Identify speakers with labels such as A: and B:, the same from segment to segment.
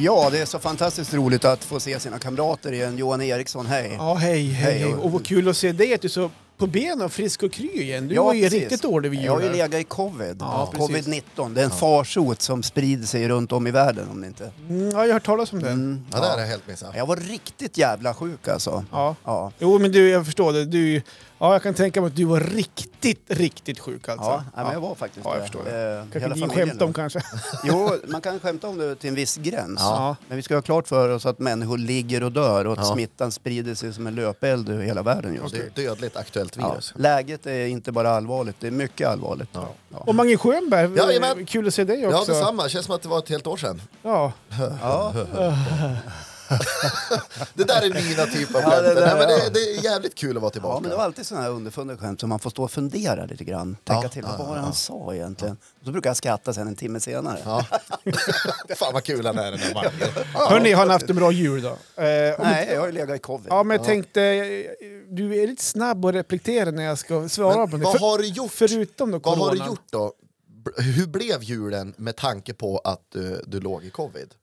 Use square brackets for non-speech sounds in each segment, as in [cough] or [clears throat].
A: Ja, det är så fantastiskt roligt att få se sina kamrater igen. Johan Eriksson, hej!
B: Ja, hej, hej,
A: Hej,
B: hej.
A: och-
B: Och vad kul att se dig, att du är så på benen, och frisk och kry igen. Du
A: Ja,
B: var ju
A: precis.
B: riktigt dålig vid
A: Jag har ju
B: julen.
A: legat i covid.
B: Ja, precis.
A: Covid-19. Det är en farsot som sprider sig runt om i världen om det inte... Mm.
B: Mm, ja, jag har hört talas om den.
C: Ja, det har jag helt missat.
A: Jag var riktigt jävla sjuk alltså.
B: Ja.
A: Ja.
B: Jo, men du, jag förstår det. Du, ja, jag kan tänka mig att du var riktigt, riktigt sjuk alltså.
A: Ja, nej, men jag var faktiskt
B: Ja, jag
A: det.
B: förstår
A: Eh, hela
B: Kanske ni
A: familjen
B: skämtar om
A: då.
B: kanske.
A: [laughs] Jo, man kan skämta om det till en viss gräns.
B: Ja.
A: Men vi ska ha klart för oss att människor ligger och dör och att
C: Ja.
A: smittan sprider sig som en löpeld över hela världen just
C: Det alltså. är
A: nu.
C: ett dödligt aktuellt
A: Ja.
C: virus.
A: Läget är inte bara allvarligt, det är mycket allvarligt. Ja.
B: Och Mange
A: [laughs]
B: Schönberg,
C: Jajamän.
B: kul att se dig
C: Ja,
B: också.
C: detsamma. Känns som att det var ett helt år sedan.
B: Ja.
A: Ja.
C: Det där är mina typer av
A: Ja, det
C: skämt.
A: där,
C: Nej, men
A: ja.
C: det, det är jävligt kul att vara
A: Ja,
C: tillbaka.
A: men det var alltid sådana här underfundiga skämt som man får stå och fundera lite grann. Tänka
C: Ja,
A: till,
C: ja,
A: vad var det
C: ja,
A: han
C: ja.
A: sa egentligen? Och så brukar jag skratta sen en timme senare.
C: Ja. [laughs] Fan vad kul han är den där Mange.
B: Hörni, har ni haft en bra jul då? Eh, om-
A: Nej, jag har ju legat i covid.
B: Ja, men jag tänkte, eh, du är lite snabb att replikera när jag ska svara
C: Men
B: på det.
C: vad
B: För-
C: har du gjort?
B: Förutom då
C: Vad
B: coronan.
C: har du gjort då? B- Hur blev julen med tanke på att eh, du låg i covid?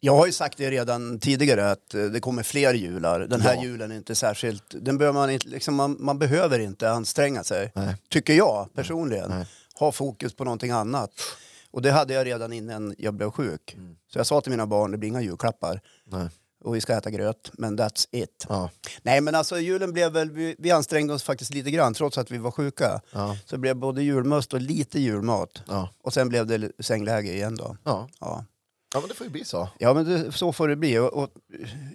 A: Jag har ju sagt det redan tidigare att eh, det kommer fler jular. Den här
C: Ja.
A: julen är inte särskilt... Den behöver man, inte, liksom, man, man behöver inte anstränga sig, tycker jag personligen. Ha fokus på någonting annat. Och det hade jag redan innan jag blev sjuk. Så jag sa till mina barn, det blir inga julklappar.
C: Mm. Nej.
A: Och vi ska äta gröt, men that's it.
C: Ja.
A: Nej men alltså julen blev väl, vi, vi ansträngde oss faktiskt lite grann trots att vi var sjuka.
C: Ja.
A: Så det blev både julmust och lite julmat.
C: Ja.
A: Och sen blev det sängläge igen då.
C: Ja.
A: Ja.
C: ja, men det får ju bli så.
A: Ja, men det, så får det bli. Och, och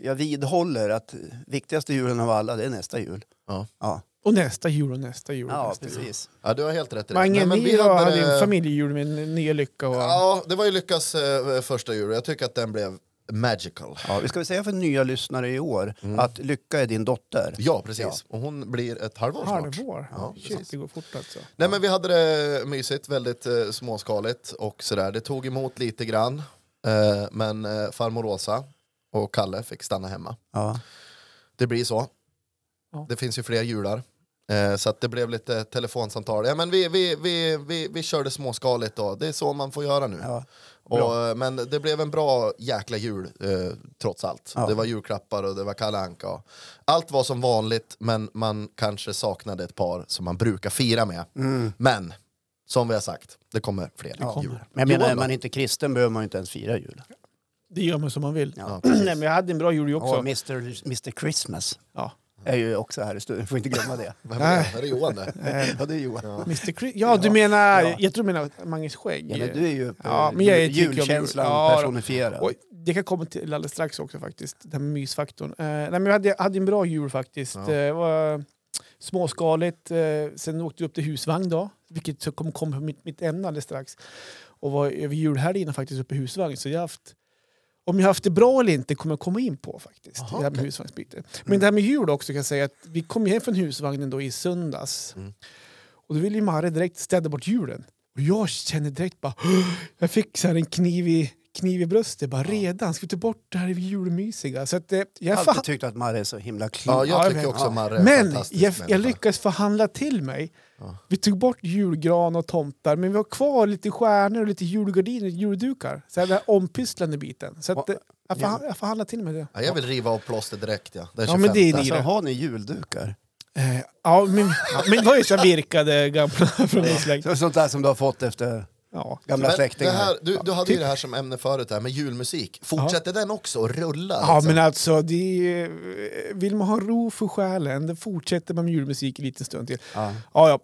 A: jag vidhåller att viktigaste julen av alla, det är nästa jul.
C: Ja.
A: Ja,
B: Och nästa jul och nästa jul. och
A: ja
B: nästa jul.
A: precis.
C: Ja, du har helt rätt i det.
B: Mange,
C: Nej, men
B: ni då hade
C: eh,
B: en familjejul med nya lycka och...
C: Ja, det var ju Lyckas eh, första jul och jag tycker att den blev magical.
A: Ja, vi ska väl säga för nya lyssnare i år att Lycka är din dotter.
C: Ja, precis. Och hon blir ett halvår snart.
B: Halvår?
C: Ja,
B: Shit,
C: precis.
B: det går fort alltså.
C: Nej men vi hade det mysigt, väldigt eh, småskaligt och sådär. Det tog emot lite grann. Eh, men eh, farmor Åsa och Kalle fick stanna hemma.
A: Ja.
C: Det blir så.
B: Ja.
C: Det finns ju fler jular. Eh, så att det blev lite telefonsamtal. Ja, men vi, vi, vi, vi, vi körde småskaligt då. Det är så man får göra nu.
A: Ja.
C: och, eh, men det blev en bra jäkla jul eh, trots allt. Det var julklappar och det var Kalle Anka. Och allt var som vanligt men man kanske saknade ett par som man brukar fira med.
A: Mm.
C: Men som vi har sagt, det kommer fler jul.
A: Men jag menar,
C: Johan
A: är
C: då?
A: man inte kristen behöver man ju inte ens fira jul.
B: Det gör man som man vill.
A: Ja,
B: [clears throat] Nej, men jag hade en bra jul ju
A: Och
B: också.
A: Mr. Mr. Christmas
B: Ja.
A: är ju också här i studion, får inte glömma det.
C: Vem är det? Är det Johan det?
A: ja, det är Johan. Ja.
B: Mr. Chris- [laughs] Eh, ja, du menar... Jag tror du menar Manges skägg.
A: men du är ju
B: Ja, men jag är- tycker jag-
A: julkänslan
B: Ja, då.
A: personifierad.
B: Och det kan komma till alldeles strax också faktiskt, den här mysfaktorn. Eh, nej, men jag hade, hade en bra jul faktiskt.
C: Ja.
B: Eh, var småskaligt. Eh, sen åkte vi upp till husvagn då, vilket så kom, kom på mitt, mitt ämne alldeles strax. Och var över julhelgen faktiskt uppe i husvagn. Så jag har haft, om jag har haft det bra eller inte kommer jag komma in på faktiskt.
C: Aha,
B: det här med
C: okej. Mm.
B: husvagnsbyte. Men det här med jul också kan jag säga att vi kom ju hem från husvagnen då i söndags.
C: Mm.
B: Och då ville ju Marre direkt städa bort julen. Och jag kände direkt bara, jag fick så här en kniv i, kniv i bröstet bara redan, ska vi ta bort det här julmysiga? Så att, eh,
A: Jag
B: jag
A: har
B: fa-
A: alltid tyckt att Marre är så himla klok.
B: Ja,
C: Ja, jag
B: jag
C: tycker
B: vet.
C: också
A: Ja.
C: Marre är en
B: men
C: fantastisk
B: jag, jag
C: människa.
B: lyckades förhandla till mig. Vi tog bort julgran och tomtar, men vi har kvar lite stjärnor och lite julgardiner och juldukar. Så här, den här ompysslande biten. Så att, eh, jag, förhandla, jag förhandlade till mig det.
C: Ja, jag vill riva av plåster direkt ja. Den
B: Ja, men det är
C: 25.
B: ni.
A: Alltså, har ni juldukar?
B: Eh, ja, men, ja, men det var ju så här virkade gamla [laughs] från min släkt.
A: Så- Sånt där som du har fått efter
B: Ja.
A: gamla
C: Men det
A: släktingar?
C: här, du, du hade ju
B: Typ.
C: det här som ämne förut, det här med julmusik. Fortsätter den också att rulla?
B: Ja,
C: liksom?
B: men alltså, det är, eh, vill man ha ro för själen, då fortsätter man med julmusik en liten stund till. Ja, ja.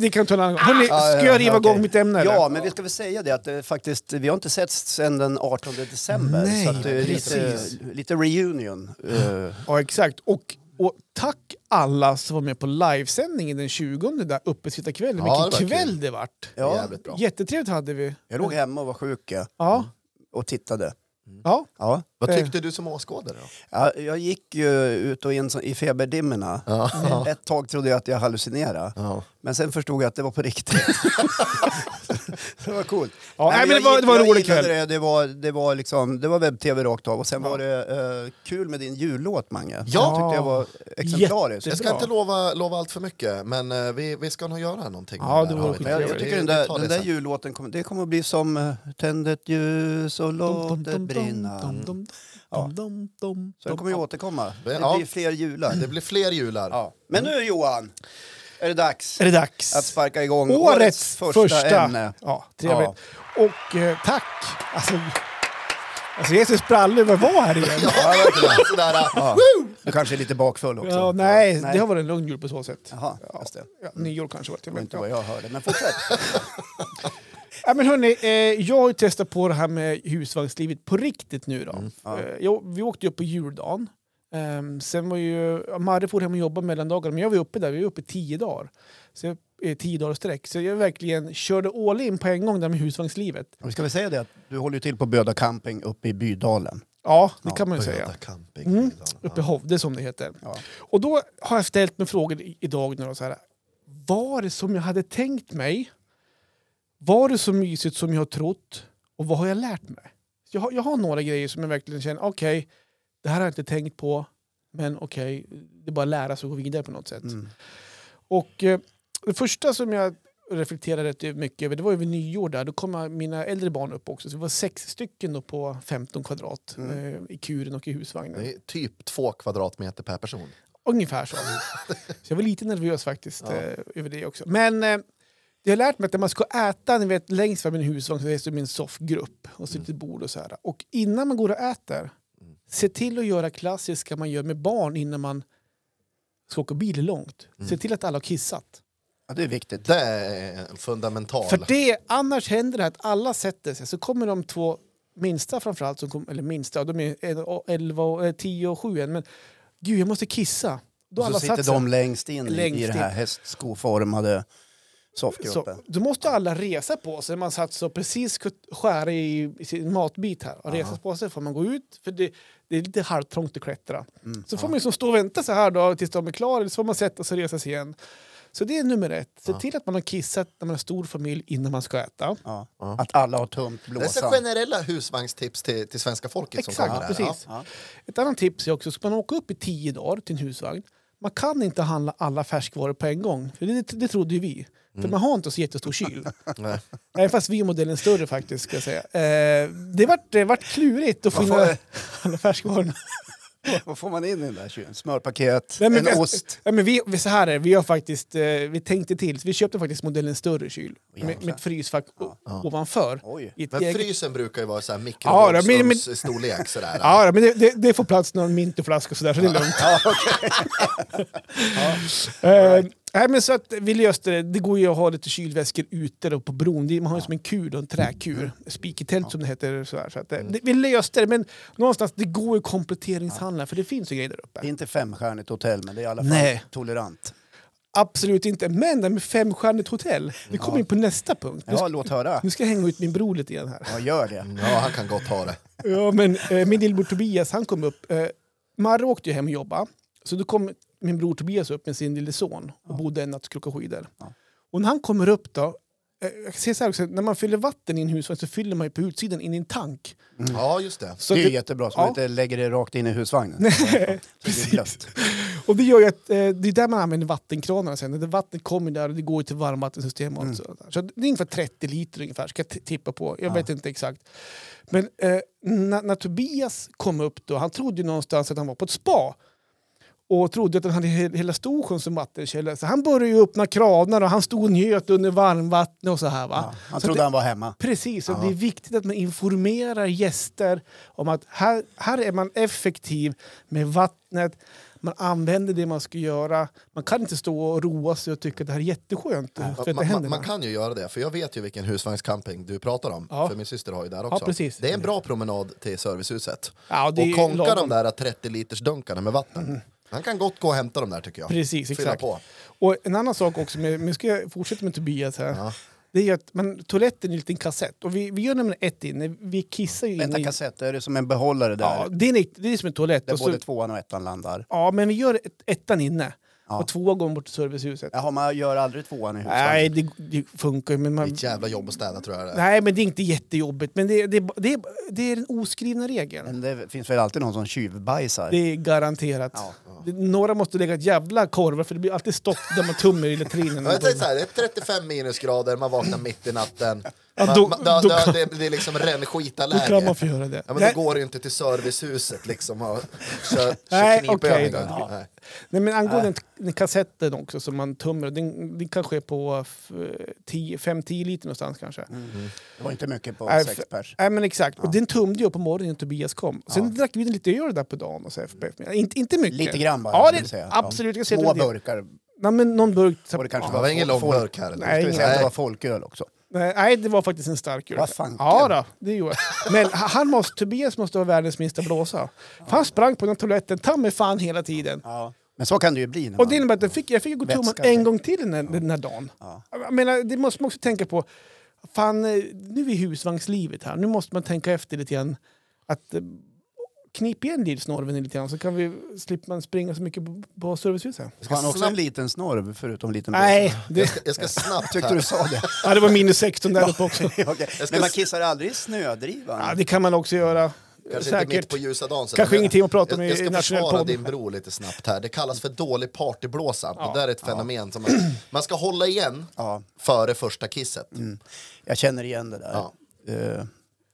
B: Det kan ta en annan gång. Hörrni, ska jag riva
A: okej.
B: igång mitt ämne?
A: Ah, Ja,
B: eller?
A: men vi ska väl säga det att det är faktiskt, vi har inte sett sedan den 18 december.
B: Nej,
A: så att det är lite,
B: precis.
A: lite reunion.
B: [laughs]
A: eh,
B: ja exakt. Och, och tack alla som var med på livesändningen den 20 där uppe sitta kväll.
C: Ja, det
B: Vilken
C: var
B: kväll
C: kul.
B: det vart!
A: ja,
C: Jävligt bra.
B: Jättetrevligt hade vi.
A: jag låg hemma och var sjuk ja,
B: Ja.
A: och tittade.
B: Ja,
A: Ja.
C: Vad tyckte du som åskådare då?
A: Ja, jag gick ju ut och in så- i feberdimmorna. Ett tag trodde jag att jag hallucinerade.
C: Ja.
A: Men sen förstod jag att det var på
B: [laughs]
A: riktigt. det var coolt.
B: Ja, nej, men det
A: jag
B: var-
A: gick-
B: det var en
A: jag
B: rolig
A: gillade
B: kväll.
A: Det, det var, det var, liksom, det var webb-tv rakt av. Och sen var det eh, kul med din jullåt, Mange. Jag tyckte jag var exemplarisk.
C: Jag ska
B: Bra.
C: inte lova, lova allt för mycket, men eh, vi, vi ska nog göra någonting.
B: Ja,
C: med
B: det
C: här,
B: vore
C: har vi
A: Men jag,
C: tänkt.
A: jag
C: Vi-
A: tycker den
C: vi
A: där,
C: tar det
A: den där
C: sen.
A: jullåten kommer, det kommer att bli som eh, Tänd ett ljus och låt det brinna. Så den kommer ju återkomma. Det
C: Ja.
A: blir fler jular.
C: Det blir fler jular.
A: Ja. Men nu Johan, är det dags
B: Är det dags?
A: att sparka igång
B: Årets, första,
A: ämne.
B: Ja, trevligt. Och eh, tack! Alltså, alltså Jesus sprall över var här igen.
A: [laughs]
C: Ja, verkligen. Sådär, äh,
A: Ja. Du kanske är lite bakfull också?
B: Ja, nej,
A: Nej.
B: det har varit en lugn jul på så sätt.
A: Jaha, just det.
B: Ja, nyår kanske var det.
A: Det var
B: men-
A: inte vad jag hörde, men
B: [laughs]
A: fortsätt.
B: Ja, men hörni, eh, jag har ju testat på det här med husvagnslivet på riktigt nu. Då. eh, jag, vi åkte ju upp på juldagen. Ehm, sen var ju, ja, Marre for hem och jobbade mellandagarna, men jag var uppe där. Vi var uppe i tio dagar. Så jag, eh, tio dagar i sträck. Så jag verkligen körde all in på en gång där med husvagnslivet.
A: Och Ska vi säga det att du håller ju till på Böda camping uppe i Bydalen.
B: Ja, det kan man ju säga.
C: Böda camping. liksom.
B: Mm.
C: Ja.
B: Uppe i Hovde som det heter.
A: Ja.
B: Och då har jag ställt mig frågor i- idag. När de så här, var det som jag hade tänkt mig? Var det så mysigt som jag har trott? Och vad har jag lärt mig? Så jag, har, jag har några grejer som jag verkligen känner, okej, det här har jag inte tänkt på, men okej, det är bara att lära sig och gå vidare på något sätt.
A: Mm.
B: Och eh, det första som jag reflekterade rätt mycket över, det var ju vid nyår där, då kom mina äldre barn upp också, så vi var sex stycken då på 15 kvadrat eh, i kuren och i husvagnen.
C: Mm. Det är typ två kvadratmeter per person.
B: Ungefär
A: [laughs]
B: så. så jag var lite nervös faktiskt eh, över det också. Men eh, jag har lärt mig att när man ska äta, ni vet längst fram i en husvagn så finns det en soffgrupp och så är det
A: Mm.
B: ett bord och så här. Och innan man går och äter, se till att göra klassiska man gör med barn innan man ska åka bil långt.
A: Mm.
B: Se till att alla har kissat.
A: Ja, det är viktigt.
C: Det är en fundamental.
B: För det, annars händer det här att alla sätter sig, så kommer de två minsta framförallt, som kom, eller minsta, de är en och 11, och, eh, 10 och 7 än, men gud jag måste kissa. Då har
A: Och så
B: alla
A: sitter
B: satt sig.
A: de längst in
B: Längst
A: i den här hästskoformade soffgruppen.
B: Så, då måste alla resa på sig. Man satt så precis kutt- skära i, i sin matbit här. Och resa på sig får man gå ut, för det, det är lite halvtrångt att klättra. så får man ju som stå och vänta så här då, tills de är klara, eller så får man sätta sig och resa sig igen. Så det är nummer ett. Se till att man har kissat när man har stor familj innan man ska äta.
A: Ja. Att alla har tömt
C: Det är så
A: blåsan.
C: generella husvagnstips till, till svenska folket som kommer
B: Exakt,
C: här.
B: precis.
A: Ja.
B: Ett annat tips är också, ska man åka upp i tio dagar till en husvagn, man kan inte handla alla färskvaror på en gång. För det, det trodde ju vi. För man har inte så jättestor kyl.
C: Nej.
B: Även fast vi är modellen större faktiskt, ska jag säga. Eh, det vart, det vart klurigt att finna alla färskvarorna.
A: Vad får man in i den där kylen? Smörpaket,
B: Nej, men
A: en
B: vi-
A: ost.
B: Nej, men vi, vi, så här är det, vi har faktiskt, eh, vi tänkte till, så vi köpte faktiskt modellen större kyl. Med, med ett frysfack o- ovanför.
A: Oj.
B: I ett
C: Men
B: eget-
C: frysen brukar ju vara så här
B: Ja, det- men- men- [laughs]
C: mikrovågsugns-storlek. sådär.
B: Ja, men det, det, det får plats någon mintoflaska och sådär, så det är lugnt. [laughs] Eh, nej, men så att vi löste det. Det går ju att ha lite kylväskor ute då på bron. Det- Man har ju som en kur, då, en träkur. Spiketält som det heter. Sådär, så att, eh, det, vi löste det, men någonstans det går ju kompletteringshandlar, för det finns ju grejer där
A: Det är
B: uppe.
A: inte femstjärnigt hotell, men det är i alla fall
B: Nej.
A: tolerant.
B: Absolut inte, men det här med femstjärnigt hotell, vi kommer in på nästa punkt. Nu,
A: Ja,
B: ska,
A: låt höra.
B: nu ska jag hänga ut min bror lite grann här.
A: Ja, gör det.
C: Ja, han kan gott ha det.
B: Ja, men eh, min lillebror Tobias, han kom upp. Eh, Marre åkte ju hem och jobbade. Så då kom min bror Tobias upp med sin lille son och bodde en natt och krokade skidor. Och när han kommer upp då, eh, jag kan säga så här också, när man fyller vatten i en husvagn så fyller man ju på utsidan in i en tank.
C: Ja, just det.
B: Mm. Så
A: Det är
B: att
A: ju
B: det-
A: jättebra, så man
B: Ja.
A: inte lägger det rakt in i husvagnen. Så det blir blött.
B: Och det gör ju att eh, det är där man använder vattenkranarna sen. Det vattnet kommer där och det går ju till varmvattensystem och
A: Mm.
B: allt sådant. Så det är ungefär 30 liter ungefär, ska jag t- tippa på. Jag vet inte exakt. Men eh, när, när Tobias kom upp då, han trodde ju någonstans att han var på ett spa. Och trodde att han hade he- hela Storsjön som vattenkälla. Så han började ju öppna kranar och han stod och njöt under varmvattnet och så här va.
A: Ja, han
B: så
A: trodde
B: det,
A: han var hemma.
B: Precis, och det är viktigt att man informerar gäster om att här, här är man effektiv med vattnet, man använder det man ska göra. Man kan inte stå och roa sig och tycka att det här är jätteskönt. För att det
C: Man,
B: händer
C: man, man kan ju göra det, för jag vet ju vilken husvagnscamping du pratar om.
B: Ja.
C: För min syster har ju där också.
B: precis.
C: Det är en bra promenad till servicehuset.
B: Ja, det är
C: och konka de
B: lagom. Mm.
C: där 30 liters dunkarna med vatten. Han kan gott gå och hämta dem där tycker jag.
B: Precis,
C: Fylla
B: exakt.
C: på.
B: Och en annan sak också, men men nu ska jag fortsätta med Tobias här. Det är ju att man, toaletten är en liten kassett. Och vi, vi gör nämligen ett inne. Vi kissar ju
A: Vänta,
B: in i...
A: kassett, är det som en behållare där?
B: Mm. Ja, det är, en, det är som en toalett.
A: där
B: Och så-
A: både tvåan och ettan landar?
B: Ja, men vi gör ett, ettan inne.
A: Ja.
B: Och tvåan går bort till servicehuset.
A: Jaha, man gör aldrig tvåan i huset?
B: Nej, det, det funkar ju. Men man,
C: Ett jävla jobb att städa tror jag det är.
B: nej, men det är inte jättejobbigt. Men det, det, det, det är den oskrivna regeln.
A: Men det finns väl alltid någon som tjuvbajsar?
B: Det är garanterat.
A: Ja,
B: Det- Några måste lägga ett jävla korvar för det blir alltid stopp där man tummar i latrinen.
C: Men Jag tänkte så här, det är 35 minusgrader, man vaknar mitt i natten.
B: Ja,
C: Man,
B: då-
C: man, då,
B: då-
C: då, det, det är liksom
B: Då kan man
C: rännskitaläge.
B: få göra det.
C: Ja, men
B: nej,
C: då går det ju inte till servicehuset liksom och kör,
B: Nej,
C: kör knipövningar.
B: okej då.
C: Nej.
B: nej, men angående den kassetten också som man tummar, den, den kan ske på 5-10 liter någonstans kanske.
A: Det var inte mycket på
B: Nej,
A: Mm. sex
B: för-
A: pers.
B: Nej men exakt, och den tömde jag på morgonen när Tobias kom. Sen drack vi lite öl där på dagen och så här på eftermiddagen. Inte, inte mycket.
A: Lite grann bara,
B: Ja,
A: skulle jag
B: det,
A: säga.
B: absolut. Jag ser
A: Små
B: det.
A: burkar.
B: Nej, men någon burk.
A: Och det kanske
C: Det var ingen lång
A: folk-
C: burk här. eller?
A: Ska
B: Nej,
A: vi säga att
C: Nej.
A: det var folköl också?
B: Nej, nej, det var faktiskt en stark öl.
A: Vad fan,
B: Ja, då, det gjorde jag. Men ha- han måste, Tobias måste vara världens minsta blåsa. För han sprang på den toaletten, ta mig fan hela tiden.
A: Men så kan det ju bli. När
B: Och det
A: man...
B: innebär att jag fick, jag fick ju gå
A: Vätska,
B: tummen en
A: tänker
B: gång till den här, den här dagen. Jag menar, det måste man också tänka på. Fan, eh, nu är vi i husvagnslivet här. Nu måste man tänka efter lite grann. Att, eh, knip igen lillsnorven lite grann så kan vi, slipper man springa så mycket på, på servicehuset.
A: Har han också en liten snorv förutom liten blåsa?
B: Nej, det,
A: [laughs]
C: Jag ska snabbt
A: Tyckte
C: här.
A: du sa
B: [laughs]
A: det?
B: ja, det var minus 16 där uppe också.
A: Okej.
C: Jag ska
A: Men man
C: s-
A: kissar aldrig i snödrivan?
B: Ja, det kan man också göra.
C: Kanske inte mitt
B: Säkert.
C: på ljusa dagen. så-
B: Kanske
C: men-
B: ingenting att prata om
C: jag,
B: i-
C: jag ska
B: i nationell
C: försvara
B: podd.
C: din bror lite snabbt här. Det kallas för dålig partyblåsa. Det där är ett fenomen som man, man ska hålla igen
A: Ja. Mm.
C: före första kisset.
A: Jag känner igen det där.
C: Ja.
A: Eh,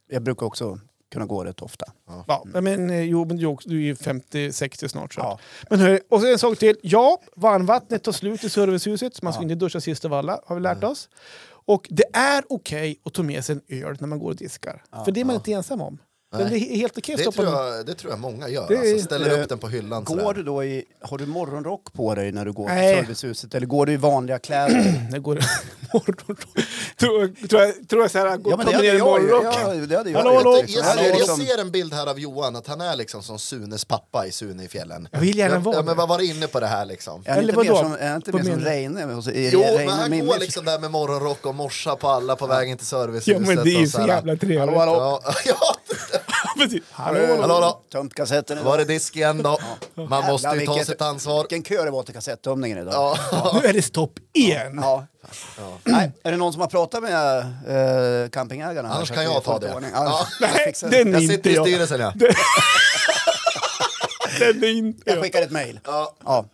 A: jag brukar också kunna gå rätt ofta.
B: Ja, men, eh, jo, men du är också- du är ju 50-60 snart. Så.
A: Mm. Ja.
B: Men hörru, och så en sak till. Ja, varmvattnet tar slut i servicehuset så man ska inte duscha sist av alla, har vi lärt oss. Och det är okej att ta med sig en öl när man går och diskar. För det är man inte ensam om. Men det är helt okej att
C: Det
B: stoppa
C: tror,
B: [clears throat] den.
C: jag, det tror jag många gör.
B: Det är-
C: alltså, ställer
A: Eh,
C: upp den på hyllan.
A: Går du då i, har du morgonrock på dig när du går
B: Nej.
A: till servicehuset eller går du i vanliga kläder?
B: Det går morgon. tror, tror jag, tror jag så här,
A: ja,
B: gå, ja,
A: men
B: ta
A: det
B: med
A: hade
B: ner en
A: jag ju.
B: morgonrock.
A: Ja, det hade jag
B: Hallå,
A: ju.
B: hallå.
A: Jag
C: Jag,
A: tycker
C: jag,
A: så här är
C: ser,
A: det
C: jag
A: som-
C: ser en bild här av Johan, att han är liksom som Sunes pappa i Sune i fjällen.
B: Jag vill gärna vara
C: ja, men
B: det.
C: vad var inne på det här liksom?
A: Är han
B: Eller
A: inte mer
B: vadå?
A: som, är han inte
B: Vad
A: mer som
B: menar du?
A: Reine? Och så- är
C: Jo,
A: Reine
C: men han
A: min-
C: går
A: min-
C: liksom där med morgonrock och morsa på alla på vägen till servicehuset.
B: Ja, men det är ju
C: och
B: så
C: här-
B: jävla trevligt.
A: Hallå, hallå.
C: Ja, ja,
B: [laughs]
C: [laughs]
B: Precis. Hallå,
A: Hallå,
C: Hallå, hallå.
A: Tömt kassetten idag.
C: var det disk igen då? Man måste ju
A: Jävlar,
C: ta
A: vilket-
C: sitt ansvar.
A: Vilken kö det var till kassettömningen idag.
C: Ja.
B: Nu är det stopp igen.
A: Ja. Nej, är det någon som har pratat med eh, campingägarna? här
C: Annars
A: så
C: kan
A: att
C: jag
A: vi får
C: ta
A: lite
C: det.
A: ordning?
C: Ja.
A: Annars- jag
B: Nej,
A: fixar det.
B: den är
C: Jag
B: inte
C: sitter i
B: jag. [laughs]
C: styrelsen ja.
B: Den är inte
A: Jag
B: jag.
A: skickar ett mejl.
C: Ja.
A: Ja.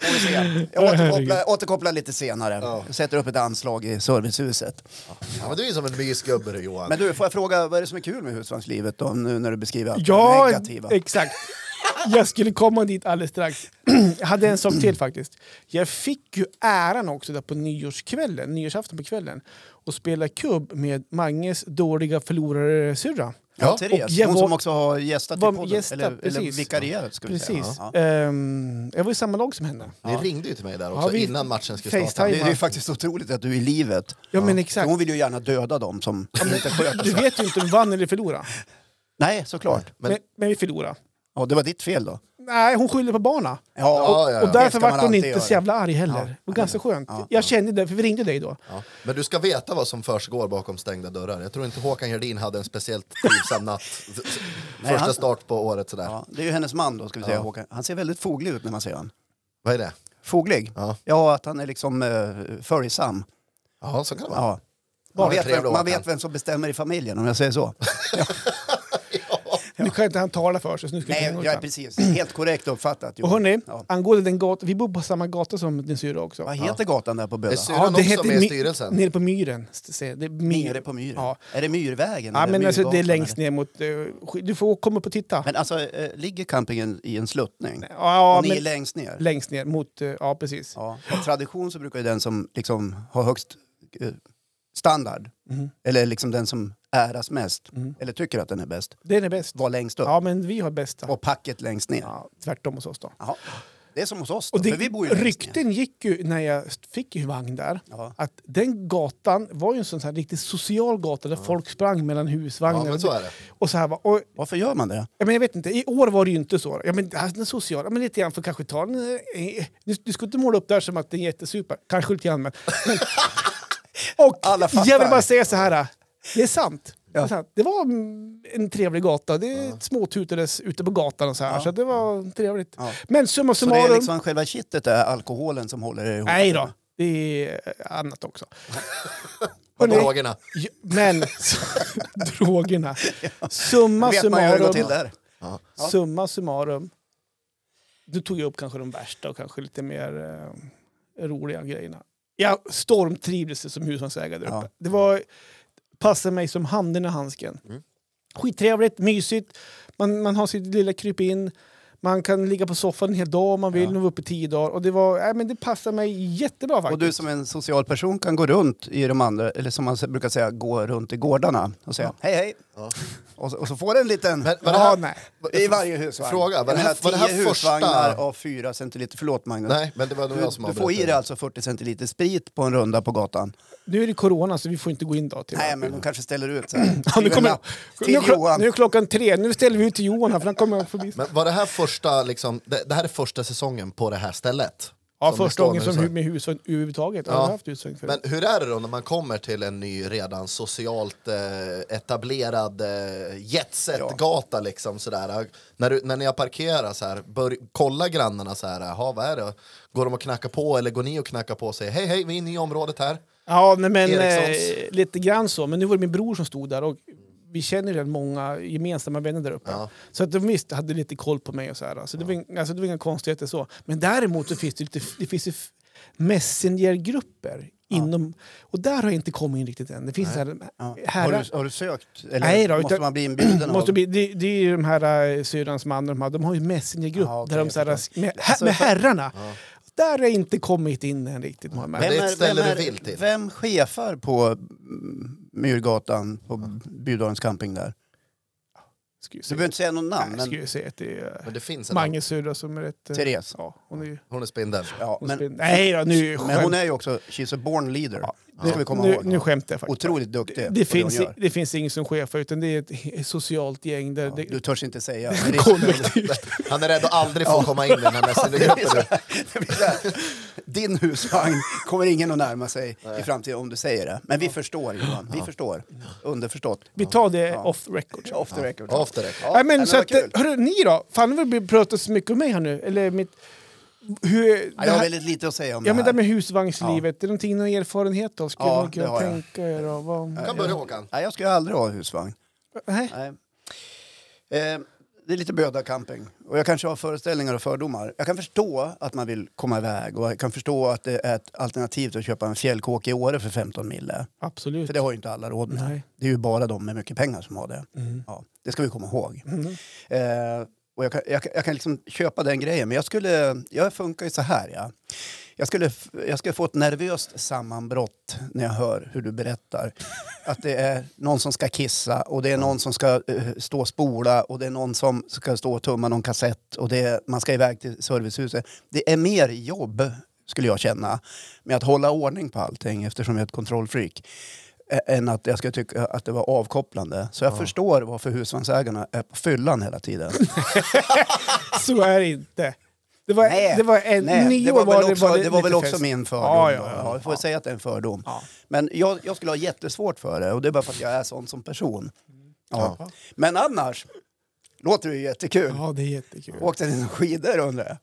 A: Får vi se.
B: [laughs]
A: Jag
B: Åh,
A: återkopplar,
B: herregud.
A: återkopplar lite senare. Jag sätter upp ett anslag i servicehuset.
C: Ja, men du är ju som en mysgubbe du, Johan.
A: Men du, får jag fråga, vad är det som är kul med husvagnslivet då, nu när du beskriver allt det
B: Ja,
A: negativa?
B: exakt. Jag skulle komma dit alldeles strax. [clears throat] Jag hade en sak till faktiskt. Jag fick ju äran också där på nyårskvällen, nyårsafton på kvällen att spela kubb med Manges dåliga förlorare-syrra.
A: Ja,
C: Ja,
A: Therese,
B: och jag
A: hon
B: var-
A: som också har gästat i
B: var
A: podden.
B: gästat,
A: eller, eller
B: precis.
A: vikarierat skulle vi säga.
B: Precis.
A: Ja.
B: Ehm, jag var i samma lag som henne.
C: Ni ringde ju till mig där också
B: Ja, vi-
C: innan matchen skulle
B: FaceTime.
A: Det,
C: starta.
A: det är ju faktiskt otroligt att du är i livet.
B: Ja, men
A: För
B: exakt.
A: Hon vill ju gärna döda dem som inte sköter
B: Du [laughs]
A: sig.
B: vet ju inte om vi vann eller förlorade.
A: Nej, såklart.
C: Men-
B: Men, men vi förlorade.
A: Ja, det var ditt fel då.
B: Nej, hon skyllde på barna.
A: Ja,
C: ja, ja.
B: Och
A: där-
B: därför
A: ska man
B: vart hon
A: alltid
B: inte
A: göra.
B: så jävla arg heller. Det var ganska skönt. Jag kände det, för vi ringde dig då.
C: Ja. Men du ska veta vad som försiggår bakom stängda dörrar. Jag tror inte Håkan Gerdin hade en speciellt trivsam natt.
A: Nej, han-
C: Första start på året sådär.
A: Ja, det är ju hennes man då, ska vi säga, Håkan. Han ser väldigt foglig ut när man ser honom.
C: Vad är det?
A: Foglig? Ja,
C: Ja.
A: att han är liksom uh, följsam.
C: Ja, så kan det vara.
A: Ja. Man,
C: Bara
A: vet vem,
C: trevlig
A: man
C: Håkan.
A: vet vem som bestämmer i familjen, om jag säger så.
B: Nu kan inte han tala för sig. Så nu ska vi
A: Nej,
B: hänga ut
A: jag är
B: han.
A: precis. Helt korrekt uppfattat. Jo.
B: Och hörni,
A: Ja.
B: angående den gatan, vi bor på samma gata som din syrra också.
A: Vad heter gatan där på Böda?
C: Det ser- Syrran också med i
B: Mi-
C: styrelsen?
B: Nere på myren. st- se, Det är myr.
A: Nere på myren.
B: Ja.
A: Är det Myrvägen?
B: Ja,
A: eller
B: men alltså, det är
A: Myrgatan,
B: längst
A: eller?
B: ner mot... eh, sk- Du får komma upp och titta.
A: Men alltså, eh, ligger campingen i en sluttning?
B: ja,
A: och ni är
B: men,
A: längst ner?
B: längst ner mot... eh, Ja, precis.
A: Ja. Av tradition så brukar ju den som liksom har högst eh, standard,
B: Mhm.
A: eller liksom den som äras mest, eller tycker att den är bäst,
B: Den är bäst.
A: vara längst upp.
B: Ja, men vi har bästa.
A: Och packet längst ner.
B: Ja, tvärtom hos oss då.
A: Jaha. Det är som hos oss då,
B: Och det,
A: för vi bor ju längst ner.
B: rykten gick ju när jag st- fick ju vagn där
A: Ja.
B: att den gatan var ju en sån här riktigt social gata där folk sprang mellan
C: Ja,
B: husvagnar.
C: men så är det.
B: och så här, va. och
A: Varför gör man det?
B: Ja, men jag vet inte, i år var det ju inte så. Ja, men det här, den sociala, men lite grann för kanske ta eh,
A: [laughs]
B: en, eh, du, du ska inte måla upp det här som att det är jättesuper. Kanske lite grann, men Och
A: Alla fattar.
B: jag vill bara säga så här. eh, Det är sant. Det, är
A: Ja.
B: sant. det var mm, en trevlig gata. Det småtutades ute på gatan och så här. Så det var trevligt.
A: Ja.
B: Men summa
A: Så det
B: summarum.
A: är liksom själva kittet är alkoholen som håller er ihop?
B: Nej då. Det är eh, annat också.
A: [laughs]
C: Och
B: Hörrni,
C: Drogerna.
B: ju- men [laughs] drogerna. Summa
A: Vet man ju hur det går till
B: summarum.
A: där.
B: Summa summarum. Du tog jag upp kanske de värsta och kanske lite mer eh, roliga grejerna. Jag stormtrivdes som husvagnsägare där
A: Ja.
B: uppe. Det var, passade mig som handen i handsken.
A: Mm.
B: Skittrevligt, mysigt. Man, man har sitt lilla kryp in. Man kan ligga på soffan en hel dag om man vill. Nu var uppe tio dagar. Och det, var, nej, men det passade mig jättebra faktiskt.
A: Och du som en social person kan gå runt i de andra, eller som man brukar säga, gå runt i gårdarna och säga hej hej. Och, så, och så får den en liten...
C: Men var det
B: ja,
C: här,
B: nej.
A: I varje husvagn.
C: Fråga, var det här-
A: Jag menar,
C: var det här
A: tio
C: första-
A: husvagnar av fyra centiliter. Förlåt Magnus.
C: nej, men det var nog
A: Du,
C: jag som
A: du får i
C: avbröt
A: dig alltså 40 centiliter sprit på en runda på gatan.
B: Nu är det corona så vi får inte gå in då. Till
A: Nej, men de kanske ställer ut så här.
B: Ja, [laughs] nu,
A: Skriver en
B: kommer,
A: lapp
B: nu,
A: till
B: är klo-
A: Johan.
B: nu är klockan tre, nu ställer vi ut till Johan här för han kommer förbi.
C: Men var det här första, liksom, det, det här är första säsongen på det här stället?
B: Ja,
C: Som det
B: första
C: står
B: gången
C: nu,
B: som
C: så.
B: hu- med husvagn överhuvudtaget. Ja. Jag har haft husvagn förut.
C: Men hur är det då när man kommer till en ny redan socialt eh, etablerad eh, jetset-gata liksom sådär. När, du, när ni har parkerat så här, bör, kolla grannarna så här, jaha vad är det? Går de och knackar på eller går ni och knackar på och säger hej hej vi är inne i området här?
B: Ja, nej, men eh,
C: Erikssons.
B: lite grann så. Men nu var det min bror som stod där och vi känner ju rätt många gemensamma vänner där uppe. Så att de visst hade lite koll på mig och så här. Så det, var, ing- alltså, det var inga konstigheter så. Men däremot så finns det lite, det finns ju f- messengergrupper inom... Och där har jag inte kommit in riktigt än. Det finns så här,
A: Ja. Har,
B: herrar-
A: du, har du sökt? Eller
B: Nej då,
A: måste
B: utan-
A: man bli
B: [clears throat]
A: inbjuden?
B: Måste
A: av...
B: bli, det, det är ju de här eh, syrrans man och de, här, de har ju messengergrupp
A: Ja, okej,
B: där de
A: jag
B: så här,
A: förstår.
B: med,
A: Alltså,
B: med
A: för-
B: herrarna. Där har jag inte kommit in än riktigt. har jag märkt.
C: Men det är ett ställe
A: vem
C: du vill till.
A: Vem chefar på mm, Myrgatan, på Bydalens camping där?
B: Ska ju
A: Så
B: säga-
A: du behöver inte säga något namn,
B: nej,
A: men
B: Ska ju säga att det är
C: Men det finns
B: eh,
C: en
B: Manges syrra som är rätt... eh,
A: Therese.
B: Ja, hon är ju...
C: Hon är spindeln.
A: Ja,
B: Hon
A: men,
B: spin- nej då, nu
A: men hon
B: skämt-
A: är ju också, she's a born leader. det ska vi komma
B: nu,
A: ihåg.
B: nu skämtar jag faktiskt.
A: Otroligt duktig
B: Det,
A: på det
B: finns,
A: hon
B: i-
A: gör.
B: det finns ingen som chefar utan det är ett, ett socialt gäng där... det,
A: Du törs inte
B: [laughs]
A: säga. Det är-
B: [laughs] kollektivt.
C: [laughs] Han är rädd att aldrig få komma in i
B: [laughs]
C: den här messengergruppen. nu.
A: det blir så här. Din husvagn kommer ingen att närma sig i framtiden om du säger det. Men vi förstår Johan, vi förstår. Underförstått.
B: vi tar det off record.
A: Off the record.
C: Off the record.
B: Nej, men, så
A: vad
B: att, eh,
A: kul.
B: hörru, ni då? Fan, nu har pratat så mycket om mig här nu. Eller mitt... Hur,
A: Ja,
B: det
A: jag har
B: här,
A: väldigt lite att säga om
B: ja,
A: det
B: men
A: här.
B: det med husvagnslivet, är det någonting ni har erfarenhet av? Skulle
A: Ja,
B: ni
A: det
B: kunna
A: har jag.
B: tänka er? Och vad...
C: kan börja Håkan.
A: Nej, jag ska ju aldrig ha husvagn.
B: Nej.
A: Nej. Eh, det är lite böda camping. Och jag kanske har föreställningar och fördomar. Jag kan förstå att man vill komma iväg och jag kan förstå att det är ett alternativ att köpa en fjällkåk i Åre för 15 mille.
B: Absolut.
A: För det har ju inte alla råd med.
B: Nej. Mm.
A: Det är ju bara de med mycket pengar som har det. Ja, det ska vi komma ihåg. Eh, och jag kan, jag, kan- jag kan liksom köpa den grejen, men jag skulle... Jag funkar ju så här, ja. Jag skulle, f- jag skulle få ett nervöst sammanbrott när jag hör hur du berättar. Att det är någon som ska kissa och det är någon som ska eh, stå och spola och det är någon som ska stå och tumma någon kassett och det är, man ska iväg till servicehuset. Det är mer jobb, skulle jag känna, med att hålla ordning på allting eftersom jag är ett kontrollfreak ä- än att jag skulle tycka att det var avkopplande. Så jag förstår varför husvagnsägarna är på fyllan hela
B: [laughs]
A: tiden.
B: Så är det inte. Det var, det var en,
A: det
B: nio
A: var
B: år var
A: väl också, det, var
B: lite
A: väl också
B: fest.
A: min fördom.
B: Ja,
A: Ja,
B: ja, ja.
A: jag får
B: Ja.
A: säga att det är en fördom.
B: Ja.
A: Men jag, jag skulle ha jättesvårt för det och det är bara för att jag är sån som person. Ja. Men annars låter det ju jättekul.
B: Ja, det är jättekul.
A: Åkte ni några skidor undrar jag?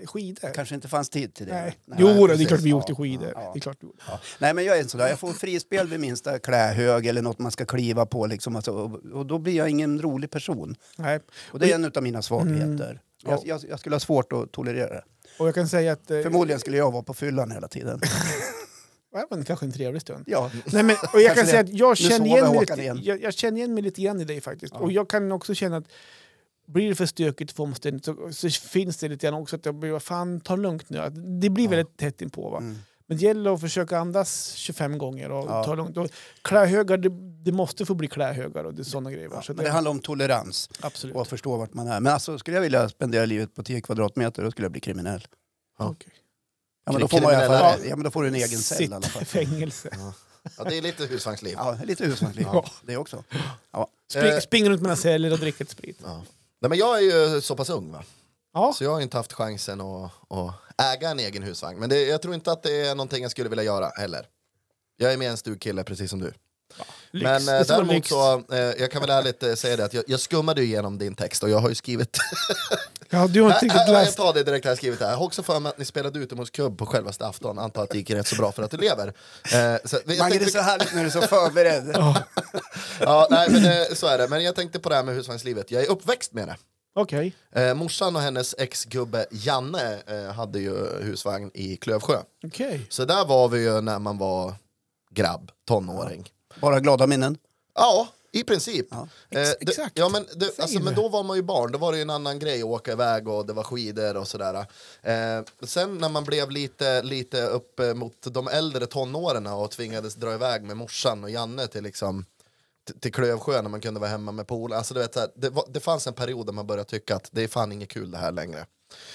B: Eh, skidor?
A: Kanske inte fanns tid till det.
B: Nej. Jo, då, det är
A: precis.
B: klart vi
A: Ja.
B: åkte skidor.
A: Ja.
B: Det är klart vi gjorde.
A: Nej, men jag är en sån där. Jag får frispel vid minsta klähög eller något man ska kliva på. Liksom. Alltså, och, och då blir jag ingen rolig person.
B: Nej.
A: Och det är en av mina svagheter. Jag, jag, jag skulle ha svårt att tolerera det.
B: Och jag kan säga att... Eh,
A: Förmodligen skulle jag vara på fyllan hela tiden.
B: det var kanske en trevlig stund.
A: Ja.
B: Nej, men, och jag kan
A: Kanske
B: säga
A: det.
B: att jag
A: Nu
B: känner,
A: sover
B: igen mig
A: Håkan
B: lite,
A: igen.
B: Jag, jag känner igen mig lite grann i dig faktiskt. Och jag kan också känna att blir det för stökigt för omständigt så, så finns det lite grann också att jag blir, vad fan, ta det lugnt nu. Att Det blir väldigt tätt inpå. Va?
A: Mm.
B: Men det gäller att försöka andas 25 gånger och ta det lugnt. Och klähögar, det, det måste få bli klähögar och det är sådana grejer. Va? Så
A: Men det handlar om tolerans
B: absolut.
A: och att förstå vart man är. Men alltså, skulle jag vilja spendera livet på 10 kvadratmeter då skulle jag bli kriminell.
B: Okej.
A: Ja, men då får, man i alla
C: Kriminella.
A: fall, ja, men då får du en egen cell i alla
B: [laughs] Sitta i
A: fall.
B: fängelse.
C: Ja, det är lite husvagnsliv.
A: Ja, lite husmansliv.
B: Ja.
A: Det också. Ja.
B: Spring,
C: Eh.
B: spring runt mellan celler och dricka ett sprit.
C: Ja. Nej, men jag är ju så pass ung va?
B: Ja.
C: Så jag har inte haft chansen att, att äga en egen husvagn. Men det, jag tror inte att det är någonting jag skulle vilja göra heller. Jag är med en stugkille precis som du.
B: Lyx.
C: Men eh,
B: Det står
C: däremot
B: lyx.
C: så, eh, jag kan väl ärligt eh, säga det att jag, jag skummade ju igenom din text och jag har
B: [laughs]
C: ju skrivit...
B: Ja, du har inte
C: Här-
B: riktigt
C: här- jag
B: läst.
C: tar det direkt här jag skrivit här. Jag har också för mig att ni spelade utomhusklubb på självaste afton. Antar att det gick rätt så bra för att du lever. Eh, så, jag
A: Mange, det är
C: tänkte-
A: så härligt när du är så förberedd.
C: ja, nej, men, eh, så är det. Men jag tänkte på det här med husvagnslivet. Jag är uppväxt med det.
B: Okej.
C: Eh, morsan och hennes exgubbe Janne eh, hade ju husvagn i Klövsjö.
B: Okej.
C: Så där var vi ju när man var grabb, tonåring.
A: Bara glada minnen.
C: Ja, i princip. Eh,
B: Ex-
C: det-
B: exakt.
C: Ja, men, det,
B: Säger
C: alltså, men
B: du.
C: då var man ju barn, då var det ju en annan grej att åka iväg och det var skidor och sådär. Eh, sen när man blev lite, lite upp eh, mot de äldre tonåren och tvingades dra iväg med morsan och Janne till liksom t- till Klövsjö när man kunde vara hemma med polarna. Alltså, du vet, så här, det, var- det fanns en period där man började tycka att det är fan inget kul det här längre.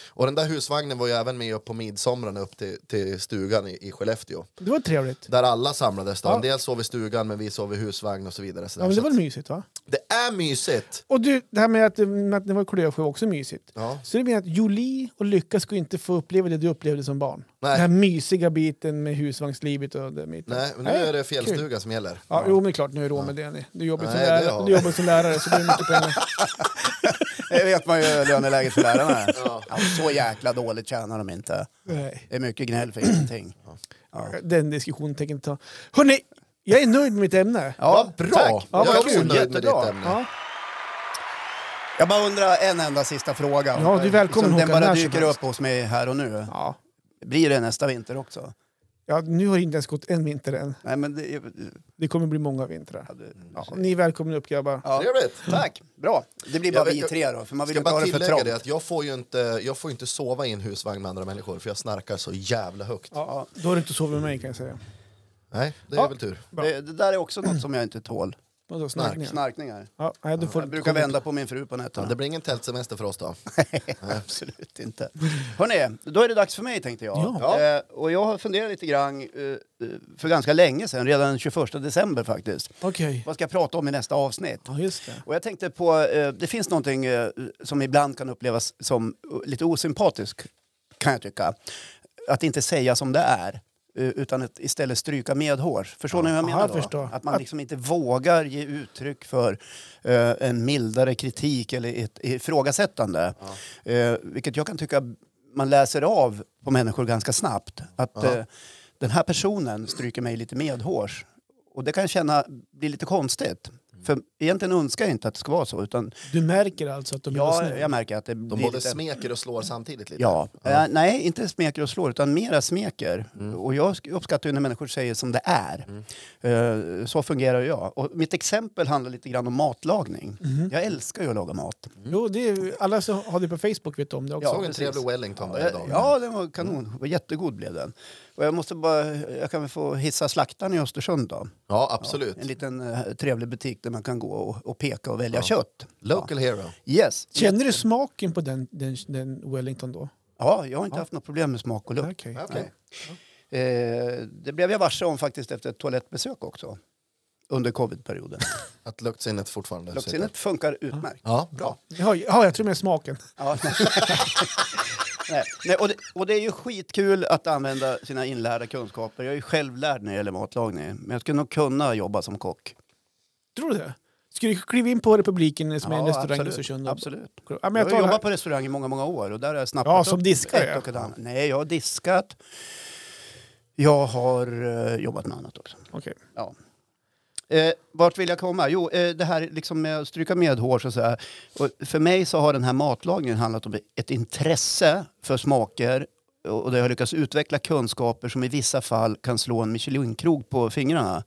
C: Och den där husvagnen var ju även med upp på midsomrarna upp till, till stugan i, i Skellefteå.
B: Det var trevligt.
C: Där alla samlades då.
B: Ja.
C: En del sov i stugan men vi sov i husvagn och så vidare. Så
B: Ja, men det var väl mysigt va?
C: det är mysigt.
B: Och du, det här med att, med att det var i Klövsjö var också mysigt.
C: Ja.
B: Så det menar att Jolie och Lycka skulle inte få uppleva det du upplevde som barn?
C: Nej.
B: Den här mysiga biten med husvagnslivet och den biten.
C: Nej, men nu är det fjällstuga som gäller.
B: Ja, Jo, men det är klart, nu är du av med det. ni. Du jobbar som,
C: Nej, det
B: lärare,
C: har vi.
B: du jobbar som lärare så det är
C: [laughs]
B: mycket pengar.
A: Det vet man ju löneläget för lärarna är. Ja, så jäkla dåligt tjänar de inte.
B: Nej.
A: Det är mycket gnäll för ingenting.
B: Den diskussionen tänker jag inte ta. Hörni, jag är nöjd med mitt ämne.
A: Ja,
C: Vad bra!
A: tack.
B: Ja,
C: jag
B: vad
C: är också
B: kul.
C: nöjd med
A: Jättebra.
C: ditt ämne.
B: Ja.
A: Jag bara undrar en enda sista fråga.
B: Ja, du är välkommen,
A: Som Den
B: Håkan,
A: bara
B: när som
A: dyker
B: helst.
A: upp hos mig här och nu.
B: Ja.
A: Blir det nästa vinter också?
B: Ja, nu har det inte ens gått en vinter än.
A: Nej, men det, är-
B: Det kommer bli många vintrar.
A: ja, det-
B: Ja, ni är välkomna upp grabbar.
A: Ja.
C: Trevligt!
A: Tack! Bra. Det blir
C: Jag
A: bara
C: vet-
A: vi tre då, för man vill
C: Ska
A: inte ha
C: bara
A: det för
C: tillägga
A: trångt.
C: det att jag får ju inte, jag får ju inte sova i en husvagn med andra människor för jag snarkar så jävla högt.
B: Ja, då har du inte sovit med mig kan jag säga.
C: Nej, det är
B: Ja.
C: väl tur.
B: Bra.
A: Det, det där är också något som jag inte tål.
B: Vadå, snarkningar?
A: Snarkningar.
B: Ja, nej, då får
A: Jag
B: du
A: brukar
B: komma-
A: vända på min fru på
C: Ja,
A: nätterna. [laughs]
C: det blir ingen tältsemester för oss då.
A: Absolut inte. Hörrni, då är det dags för mig tänkte jag.
C: Ja.
A: Eh, och jag har funderat lite grann eh, eh, för ganska länge sedan, redan den 21 december faktiskt.
B: Okej.
A: Vad ska jag prata om i nästa avsnitt?
B: Ja, just det.
A: Och jag tänkte på, eh, det finns någonting eh, som ibland kan upplevas som eh, lite osympatisk, kan jag tycka. Att inte säga som det är, eh, utan att istället stryka medhårs. Förstår ni hur jag
B: Ja,
A: menar
B: jag
A: då?
B: förstår.
A: Att man liksom inte vågar ge uttryck för eh, en mildare kritik eller ett ifrågasättande. Eh, vilket jag kan tycka man läser av på människor ganska snabbt. Att eh, den här personen stryker mig lite medhårs. Och det kan jag känna blir lite konstigt.
B: Mm.
A: För egentligen önskar jag inte att det ska vara så. Utan
B: Du märker alltså att de är
A: jag,
B: snälla?
A: jag märker att det blir
C: De både
A: lite...
C: smeker och slår samtidigt lite.
A: Ja. Mm. Eh, nej, inte smeker och slår, utan mera smeker. Och jag sk- uppskattar ju när människor säger som det är. Eh, så fungerar ju jag. Och mitt exempel handlar lite grann om matlagning. Jag älskar ju att laga mat.
B: Jo, det är, alla som har det på Facebook vet om det också.
C: Jag såg en
A: precis.
C: trevlig Wellington där
A: Ja,
C: idag.
A: Ja, den var kanon. Var Jättegod blev den. Och jag måste bara, jag kan väl få hissa slaktaren i Östersund då.
C: Ja, absolut.
A: En liten eh, trevlig butik där man kan gå och, och peka och välja kött.
C: Local hero.
A: Ja. Yes.
B: Känner du smaken på den, den, den Wellington då?
A: Ja, jag har inte haft något problem med smak och lukt.
B: Okej.
C: Okej.
A: Eh, det blev jag varse om faktiskt efter ett toalettbesök också. Under
B: [laughs]
A: covidperioden.
C: Att luktsinnet fortfarande sitter.
A: Luktsinnet
B: Ah.
A: funkar utmärkt.
C: Ja, bra.
B: Ja, ja, jag tror med smaken.
A: Ja. [laughs] Nej. Nej, och, det, och det är ju skitkul att använda sina inlärda kunskaper. Jag är ju självlärd när det gäller matlagning. Men jag skulle nog kunna jobba som kock.
B: Tror du det? Ska du kliva in på Republiken som är en
A: Ja,
B: restaurang i
A: absolut.
B: Östersund?
A: Absolut.
B: Ja, men
A: Jag har
B: jag tar det här.
A: jobbat på restaurang i många, många år och där har jag snappat
B: Ja, som
A: upp
B: diskare,
A: ett
B: ja.
A: och ett annat. Nej, jag har diskat. Jag har eh, jobbat med annat också.
B: Okej.
A: Ja. Eh, vart vill jag komma? Jo, eh, det här liksom med att stryka medhårs och så här. Och för mig så har den här matlagningen handlat om ett intresse för smaker och och där jag har lyckats utveckla kunskaper som i vissa fall kan slå en Michelinkrog på fingrarna.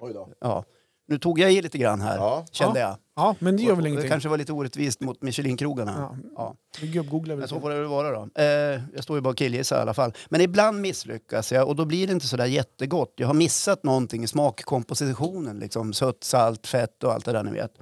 C: Oj då.
A: Ja. Nu tog jag i lite grann här,
C: Ja.
A: kände jag.
B: Ja, men det gör
A: Och- och
B: väl ingenting.
A: Det kanske var lite orättvist mot Michelinkrogarna.
B: Ja.
A: Ja.
B: Du gubbgooglar
A: Men
B: väl?
A: så får det väl vara då. Eh, jag står ju bara och killgissar i alla fall. Men ibland misslyckas jag och då blir det inte sådär jättegott. Jag har missat någonting i smakkompositionen. Liksom sött, salt, fett och allt det där ni vet.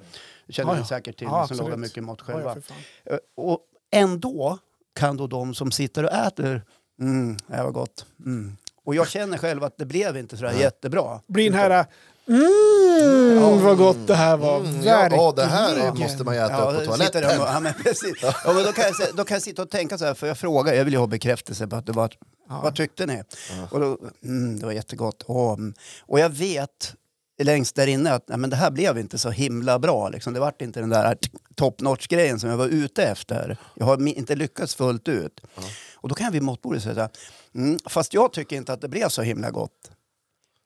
A: Det känner
B: Ah, Ja,
A: ni
B: ja.
A: säkert till,
B: Ja,
A: ni som
B: absolut. Ah,
A: lagar mycket mat
B: Ja, ja,
A: själva.
B: för fan.
A: Eh, och ändå kan då de som sitter och äter, mm, det här var gott. Mm. Och jag känner själv att det blev inte sådär jättebra.
B: Blir den här Mm, vad gott det här var.
C: Mm, Ja,
B: Verkligen.
C: ja, det här är- måste man ju äta upp
A: då
C: på
A: sitter
C: toaletten.
A: de och- ja, men precis. Ja, men då, kan jag, se- då kan jag sitta och tänka så här, för jag frågar, jag vill ju ha bekräftelse på att det var, vad tyckte ni? Och då, mm, det var jättegott. Och, och jag vet längst där inne att nej, men det här blev inte så himla bra. Liksom. Det vart inte den där top notch-grejen som jag var ute efter. Jag har mi- inte lyckats fullt ut. Och då kan jag vid måttbordet säga så här, mm, fast jag tycker inte att det blev så himla gott.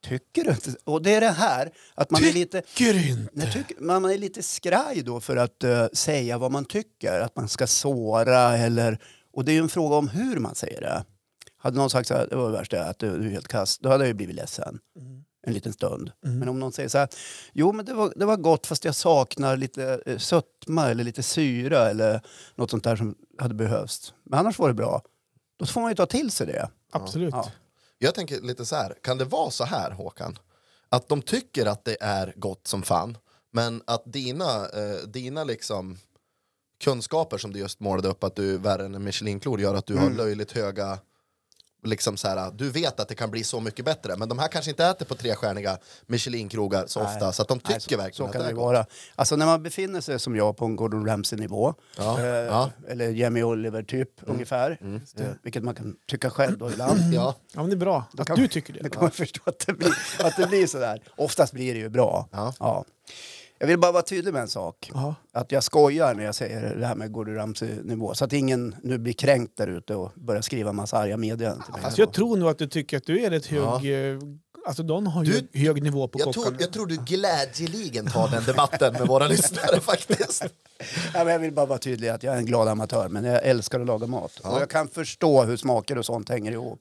A: Tycker du inte? Och det är det här, att man är lite...
B: Tycker du inte?
A: Nej, tyck, man man är lite skraj då för att eh, säga vad man tycker, att man ska såra eller... Och det är ju en fråga om hur man säger det. Hade någon sagt så här, det var det värsta, att du, du är helt kass, då hade jag ju blivit ledsen. En liten stund. Men om någon säger så här, jo men det var, det var gott fast jag saknar lite eh, sötma eller lite syra eller något sånt där som hade behövts. Men annars var det bra. Då får man ju ta till sig det.
B: Absolut.
A: Ja.
C: Jag tänker lite så här, kan det vara så här Håkan? Att de tycker att det är gott som fan, men att dina, eh, dina liksom kunskaper som du just målade upp att du är värre än en Michelin-klor gör att du
A: Mm.
C: har löjligt höga Liksom så här, du vet att det kan bli så mycket bättre, men de här kanske inte äter på trestjärniga Michelin-krogar så ofta, så att de tycker
A: Nej, så, så
C: verkligen
A: kan
C: att
A: det,
C: det är gott.
A: vara. Alltså när man befinner sig som jag på en Gordon Ramsay-nivå,
C: Ja,
A: eh,
C: ja. Mm.
A: eller Jamie Oliver typ ungefär, eh, vilket man kan tycka själv då
C: [laughs]
A: ibland.
C: Ja.
B: Ja, men det är bra att du tycker det.
A: Då kan man förstå att det blir, att det blir sådär. Oftast blir det ju bra.
C: Ja.
A: Jag vill bara vara tydlig med en sak.
B: Ja.
A: Att jag skojar när jag säger det här med Gordon Ramsay-nivå. Så att ingen nu blir kränkt där ute och börjar skriva en massa arga meddelanden till mig.
B: Fast Alltså, jag tror nog att du tycker att du är rätt hög... eh, Alltså de har ju
C: Du-
B: hög nivå på
C: Jag, tror,
B: kockarna.
C: jag tror du glädjeligen tar den debatten
A: [laughs]
C: med våra lyssnare faktiskt.
A: Ja, men jag vill bara vara tydlig att jag är en glad amatör, men jag älskar att laga mat. Och jag kan förstå hur smaker och sånt hänger ihop.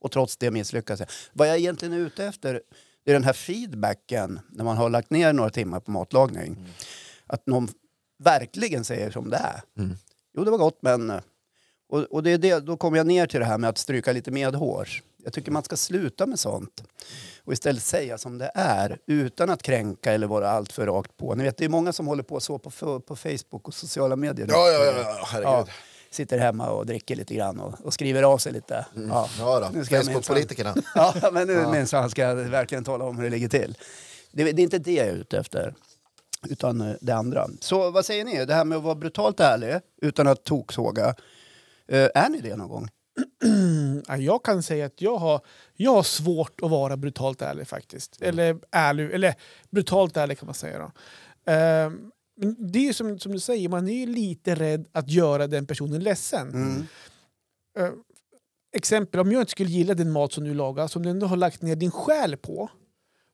A: Och trots det misslyckas jag. Vad jag egentligen är ute efter är den här feedbacken när man har lagt ner några timmar på matlagning. Att någon verkligen säger som det är. Jo, det var gott, men... Och, och det är det, då kommer jag ner till det här med att stryka lite medhårs. Jag tycker man ska sluta med sånt och istället säga som det är utan att kränka eller vara alltför rakt på. Ni vet, det är många som håller på så på, på Facebook och sociala medier. nu.
C: Ja, ja, ja, ja, herregud.
A: sitter hemma och dricker lite grann och, och skriver av sig lite. Ja,
C: Mm. Ja då,
A: Nu ska jag
C: Facebook-politikerna.
A: minsann- [laughs] Ja, men nu minsann ska jag verkligen tala om hur det ligger till. Det, det är inte det jag är ute efter, utan eh, det andra. Så vad säger ni? Det här med att vara brutalt ärlig utan att toksåga. Eh, är ni det någon gång?
B: Ja, jag kan säga att jag har, jag har svårt att vara brutalt ärlig faktiskt. Eller ärlig, eller brutalt ärlig kan man säga. Då. Ehm, men det är ju som, som du säger, man är ju lite rädd att göra den personen ledsen. Ehm, exempel, om jag inte skulle gilla din mat som du lagar, som du ändå har lagt ner din själ på.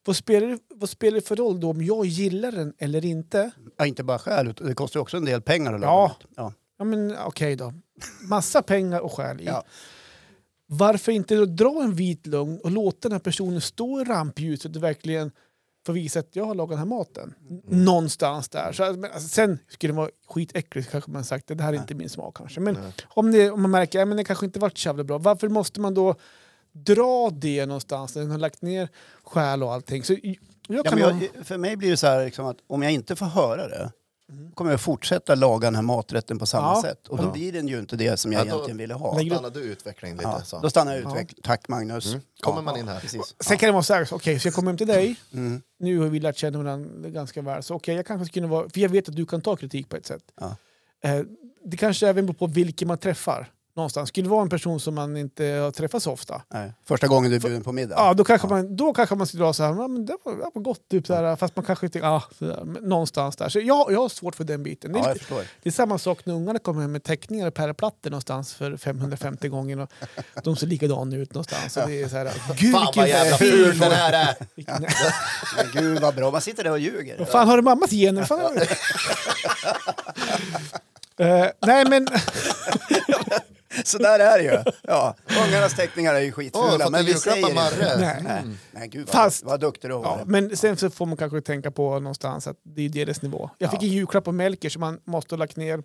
B: Vad spelar, det- vad spelar det för roll då om jag gillar den eller inte?
A: Ja, inte bara själ, utan det kostar ju också en del pengar att laga
B: Ja.
A: mat. Ja.
B: Ja men okej då. Massa pengar och själ i.
A: Ja.
B: Varför inte då dra en vit lögn och låta den här personen stå i rampljuset och verkligen få visa att jag har lagat den här maten. N-
A: Mm.
B: Någonstans där. Så, att- men, alltså, sen skulle det vara skitäckligt kanske man sagt det här är inte min smak kanske. Men om, det, om man märker att det kanske inte varit så jävla bra, varför måste man då dra det någonstans när den har lagt ner själ och allting? Så, jag, jag
A: Ja,
B: kan
A: men
B: ha-
A: jag, för mig blir det så här liksom att om jag inte får höra det kommer jag fortsätta laga den här maträtten på samma
B: Mm. Ja.
A: sätt. Och då blir den ju inte det som jag
C: Ja, då-
A: egentligen ville ha.
B: Nej,
C: Stannar du utveckling lite?
A: Ja,
C: Så. Mm.
A: då stannar jag utveckling. Tack Magnus.
C: Kommer
A: ja, Mm.
C: man in här?
A: Precis.
B: Sen kan det vara så här, okej, så jag kommer hem till dig, nu har vi lärt känna varandra ganska väl, så okej, jag kanske skulle vara, för jag vet att du kan ta kritik på ett sätt.
A: Ja.
B: Eh, det kanske även beror på vilken man träffar. Någonstans. Skulle det vara en person som man inte har träffat så ofta,
A: Nej. Första gången du är bjuden på middag.
B: ja, då, kanske man, då kanske man skulle dra så här, "Ja, men det var, det var gott, typ, så här, fast man kanske inte, ah, så där, men någonstans där. Så jag, jag har svårt för den biten. Det är
A: Ja, jag
B: lite-
A: förstår.
B: det är samma sak när ungarna kommer hem med teckningar och pärlplattor någonstans för 550 gånger och de ser likadana ut någonstans. Och det är så här, Gud,
C: Fan vad
B: vilken
C: jävla
B: ful
C: ful den här är!
B: vilken-
A: Men gud vad bra, man sitter där och ljuger.
B: Vad fan har du mammas gener? Fan har du?
C: [laughs]
B: Eh, nej men,
A: Så där är det ju. Ja. Ungarnas teckningar är ju
C: Åh, har
A: skitfula.
C: fått
A: men
C: en
A: vi
C: julklapp
A: säger
C: av Marre. Mm.
A: inte.
B: Nej.
A: Nej. Nej, gud vad,
B: Fast-
A: vad duktig du var.
B: ja, men sen så får man kanske tänka på någonstans att det är deras nivå. Jag fick en julklapp av Melker som man måste ha lagt ner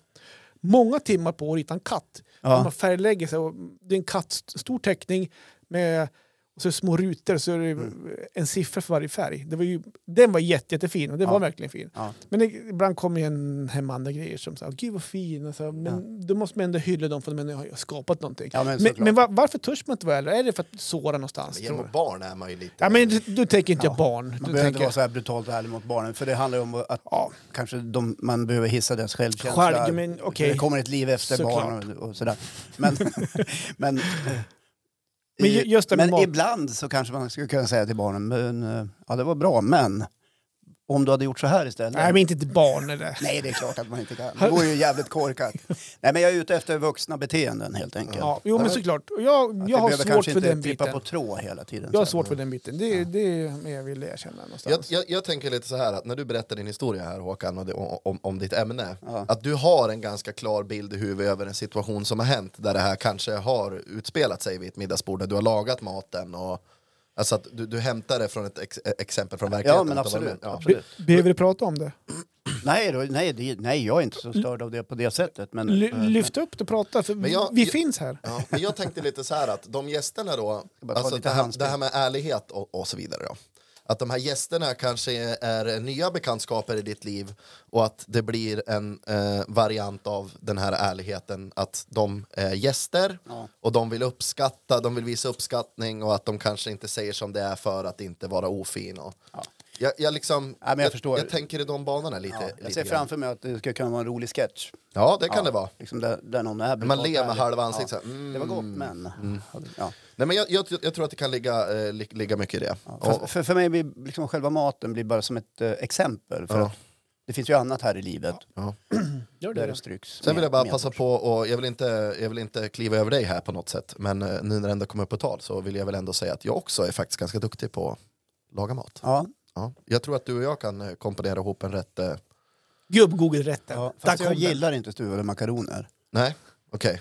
B: många timmar på att rita en katt.
A: Ja.
B: Man färglägger sig och det är en katt, stor teckning med Och så är det små rutor så är det
A: Mm.
B: en siffra för varje färg. Det var ju, den var jätte, jättefin och det
A: Ja.
B: var verkligen fin.
A: Ja.
B: Men det, ibland kommer ju en hem andra grejer som säger gud vad fin. Och så, men då måste man ändå hylla dem för att de har ju skapat någonting.
A: Ja, men
B: men
A: såklart.
B: men var, varför törs man inte vara äldre? Är det för att såra någonstans?
C: Genom
B: tror du?
C: barn är man ju lite...
B: Ja, men du, du tänker inte
A: Ja.
B: jag barn.
A: Man
B: Du
A: behöver inte
B: tänker,
A: vara så här brutalt ärlig mot barnen för det handlar ju om att
B: ja,
A: kanske de, man behöver hissa deras självkänsla.
B: Själv, men okej.
A: Det kommer ett liv efter
B: Såklart.
A: barn och, och sådär. Men, [laughs] men, eh,
B: Men
A: i-
B: ju- just det med
A: men
B: mat-
A: ibland så kanske man skulle kunna säga till barnen, men, eh, ja det var bra, men om du hade gjort så här istället.
B: nej, men inte till barn. Är det.
A: Nej, det är klart att man inte kan. Det vore ju jävligt korkat. Nej, men jag är ute efter vuxna beteenden helt enkelt.
B: Ja, jo, men
A: Att
B: såklart. Och Jag,
A: vi
B: jag har
A: behöver
B: svårt
A: kanske
B: för
A: inte
B: den
A: trippa
B: biten.
A: på trå hela tiden.
B: Jag har
A: så.
B: svårt för den biten. Det, det är det jag vill erkänna någonstans.
C: Jag, jag, jag tänker lite så här att när du berättar din historia här Håkan och det, om, om ditt ämne,
A: Ja.
C: att du har en ganska klar bild i huvudet över en situation som har hänt där det här kanske har utspelat sig vid ett middagsbord där du har lagat maten och alltså att du, du hämtar det från ett ex, e- exempel från verkligheten.
A: Ja, men
C: att det var-
A: absolut.
C: ja.
A: absolut.
B: Be- Behöver du prata om det?
A: Nej, då, nej, det, nej, jag är inte så störd av det på det sättet. Men,
B: Ly- lyft upp det och prata, för
C: jag-
B: vi
C: jag-
B: finns här.
C: Ja, men jag tänkte lite så här att de gästerna då,
A: bara ta
C: alltså
A: lite
C: det, här,
A: handsprit.
C: det här med ärlighet och, och så vidare då. Att de här gästerna kanske är nya bekantskaper i ditt liv och att det blir en eh, variant av den här ärligheten att de är gäster
A: Ja.
C: och de vill uppskatta, de vill visa uppskattning och att de kanske inte säger som det är för att inte vara ofin. Och,
A: Ja.
C: jag, jag, liksom,
A: Ja, men jag förstår.
C: jag tänker i de banorna lite.
A: Ja, jag
C: lite
A: ser
C: grann.
A: framför mig att det ska kunna vara en rolig sketch.
C: Ja, det kan
A: Ja,
C: det vara.
A: Liksom där, där någon är
C: Man
A: brutalt
C: ler med
A: ärlig.
C: halva ansiktet.
A: Ja.
C: så här, Mm.
A: Det var gott, men... Ja.
C: Nej, men jag, jag, jag tror att det kan ligga, eh, li- ligga mycket i det.
A: För,
C: Och-
A: för, för mig blir liksom själva maten blir bara som ett eh, exempel. För
C: Ja.
A: att det finns ju annat här i livet
C: ja.
B: Gör
A: där
B: det.
A: det
B: då.
A: stryks.
C: Sen vill
A: med-
C: jag bara
A: med-
C: passa på, och jag vill, inte, jag vill inte kliva över dig här på något sätt, men eh, nu när det ändå kommer på tal så vill jag väl ändå säga att jag också är faktiskt ganska duktig på att laga mat.
A: Ja,
C: Ja. Jag tror att du och jag kan eh, komponera ihop en rätt... Eh,
B: Gubb-Google-rätten.
A: ja,
B: Där
A: fast
B: kom
A: jag
B: den.
A: gillar inte stuvade makaroner.
C: nej, okej.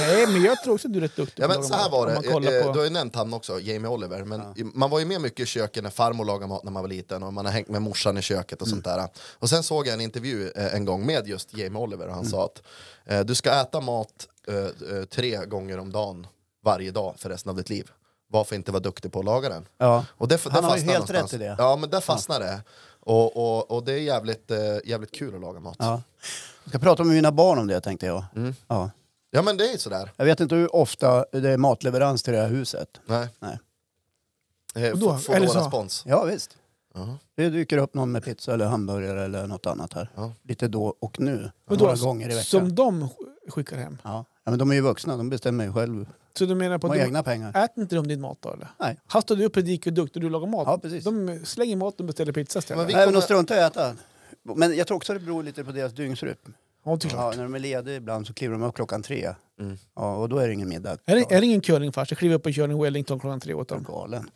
B: Nej, men jag tror också att du är rätt duktig
C: Ja,
B: att
C: men så
B: laga
C: här
B: mat,
C: var
B: om
C: det,
B: man kollar
C: Eh,
B: på-
C: du har ju nämnt han också, Jamie Oliver, men i- man var ju med mycket i köket när farmor lagade mat när man var liten och man har hängt med morsan i köket och
B: Mm.
C: sånt där. Och sen såg jag en intervju eh, en gång med just Jamie Oliver och han
B: Mm.
C: sa att eh, du ska äta mat eh, eh, tre gånger om dagen varje dag för resten av ditt liv. Varför inte vara duktig på att laga den?
A: Ja.
C: Och det, där
A: Han har ju
C: fastnar
A: helt
C: någonstans.
A: rätt i det.
C: Ja, men där fastnar det. Och, och, och det är jävligt, eh, jävligt kul att laga mat. Ja,
A: ja. Jag ska prata med mina barn om det tänkte jag.
C: Mm.
A: Ja.
C: men det är ju sådär.
A: Jag vet inte hur ofta det är matleverans till det här huset.
C: Nej.
A: Nej.
C: Eh,
B: Och då-
C: f- Får
B: eller
C: då
B: så-
C: respons.
A: Ja, visst.
C: Ja.
A: Det dyker upp någon med pizza eller hamburgare eller något annat här.
C: Ja.
A: Lite då och nu.
B: Men då,
A: några gånger i veckan.
B: Som de skickar hem.
A: Ja. ja, men de är ju vuxna. De bestämmer ju själv.
B: Så du menar på
A: De
B: att
A: har
B: du,
A: egna pengar.
B: äter inte de din mat då eller?
A: Nej.
B: Här står du och predikar hur duktig du lagar mat.
A: Ja, precis.
B: De slänger mat och beställer pizza
C: Men
B: istället.
C: vi-
A: Nej, men
C: kommer-
A: de struntar i att äta. Men jag tror också det beror lite på deras dygnsrytm.
B: Ja, det är klart.
A: Ja, när de är lediga ibland så kliver de upp klockan tre.
C: Mm.
A: Ja, och då är det ingen middag.
B: Är, det, är det ingen curlingfars? Jag kliver upp och kör en Wellington klockan tre åt
A: Ja, de
B: dem.
A: är galen.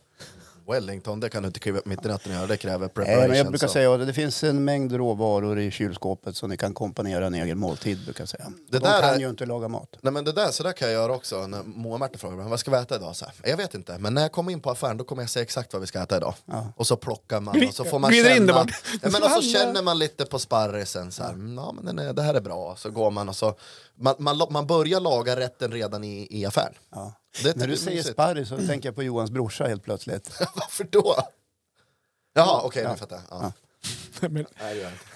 C: Wellington, det kan du inte kliva upp mitt i natten och göra. Det kräver preparation.
A: Nej, men jag brukar
C: så.
A: säga att det finns en mängd råvaror i kylskåpet som ni kan komponera en egen måltid. Brukar jag säga. de
C: Det där
A: kan
C: är-
A: ju inte laga mat.
C: Nej, men det där, så där kan jag göra också. När Moa Märta frågar mig, vad ska vi äta idag? Så här, jag vet inte, men när jag kommer in på affären då kommer jag säga exakt vad vi ska äta idag. Och så plockar man
B: Gli-
C: och så får man
B: glider in
C: känna.
B: det bara.
C: ja,
A: [laughs]
C: men och så
B: Handla.
C: känner man lite på sparrisen. Så här, "Mm, ja, men den är, det här är bra. Så går man och så. Man, man, la- man börjar laga rätten redan i, i affären. [laughs]
A: Ja.
C: Det tycker
A: När du
C: jag är
A: säger
C: mysigt.
A: sparris så tänker jag på Johans brorsa helt plötsligt.
C: Varför då? Jaha, okej, nu fattar jag. Ja.
B: [laughs] Men,
C: Nej, det gör jag inte.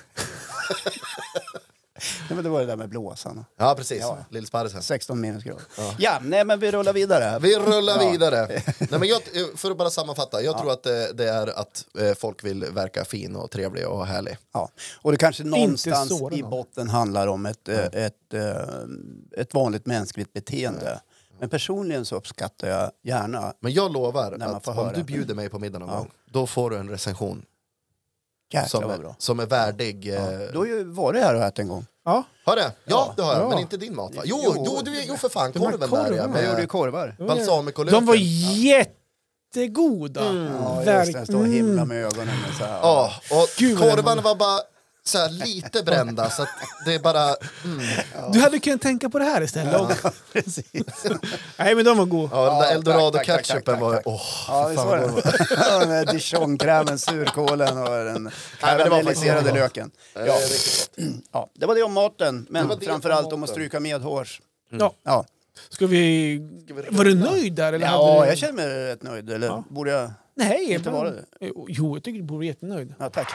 A: Nej, men det var det där med blåsan.
C: ja, precis.
A: Ja.
C: Lillsparrisen.
A: 16 minusgrader. Ja. nej men vi rullar vidare.
C: Vi rullar
A: Ja. [laughs]
C: vidare. Nej, men jag, för att bara sammanfatta, jag tror att det, det är att eh, folk vill verka fin och trevlig och härlig.
A: Ja. Och det kanske någonstans
B: såra
A: i
B: någon.
A: botten handlar om ett, eh, ett, eh, ett vanligt mänskligt beteende. Men personligen så uppskattar jag gärna
C: Men jag lovar
A: När man
C: att
A: får
C: om
A: höra.
C: du bjuder mig på middag någon
A: Ja.
C: gång, då får du en recension
A: jäkla
C: som
A: vad
C: är,
A: bra.
C: som är värdig. Eh,
A: Du har ju varit här och ätit en gång.
B: ja,
C: Har det? Ja, det har jag,
B: Ja.
C: men inte din mat va? Jo,
A: Jo.
C: jo, du, jo för fan,
B: Den här
C: korven där ja,
B: korven,
A: Jag gjorde ju
C: med
A: korvar.
C: balsamicolök.
B: de var jättegoda.
A: Mm. Ja, just
B: Verk-
A: det. Stå och himla med ögonen. och Så här.
C: Ja, och
B: Gud, vad
C: korvarna
B: den
C: var bara så här, lite brända, så att det
A: [laughs]
C: är bara... Mm.
B: Du hade kunnat tänka på det här istället. Och,
A: precis.
B: nej, men de var goda.
C: Ja, den
A: Ja,
C: där
A: tack,
C: eldorado
A: tack, tack, tack,
C: ketchupen
A: tack,
C: var...
A: tack.
C: Åh,
A: [laughs] Ja, visst var det den där dijonkrämen, surkålen och den karamelliserade
C: faktiskt-
A: löken.
C: det
A: Ja.
C: är riktigt gott.
A: Ja, det var det om maten,
C: Det var
A: men
C: det
A: framför
C: om
A: allt om att
C: maten.
A: stryka medhårs.
B: Ja.
A: Ja.
B: Ska vi... Var du nöjd där? Eller hade
A: Ja,
B: du...
A: jag känner mig rätt nöjd. Eller borde jag...
B: Nej,
A: inte
B: ibland-
A: vara det.
B: Jo, jag tycker du borde vara jättenöjd.
A: Ja, tack.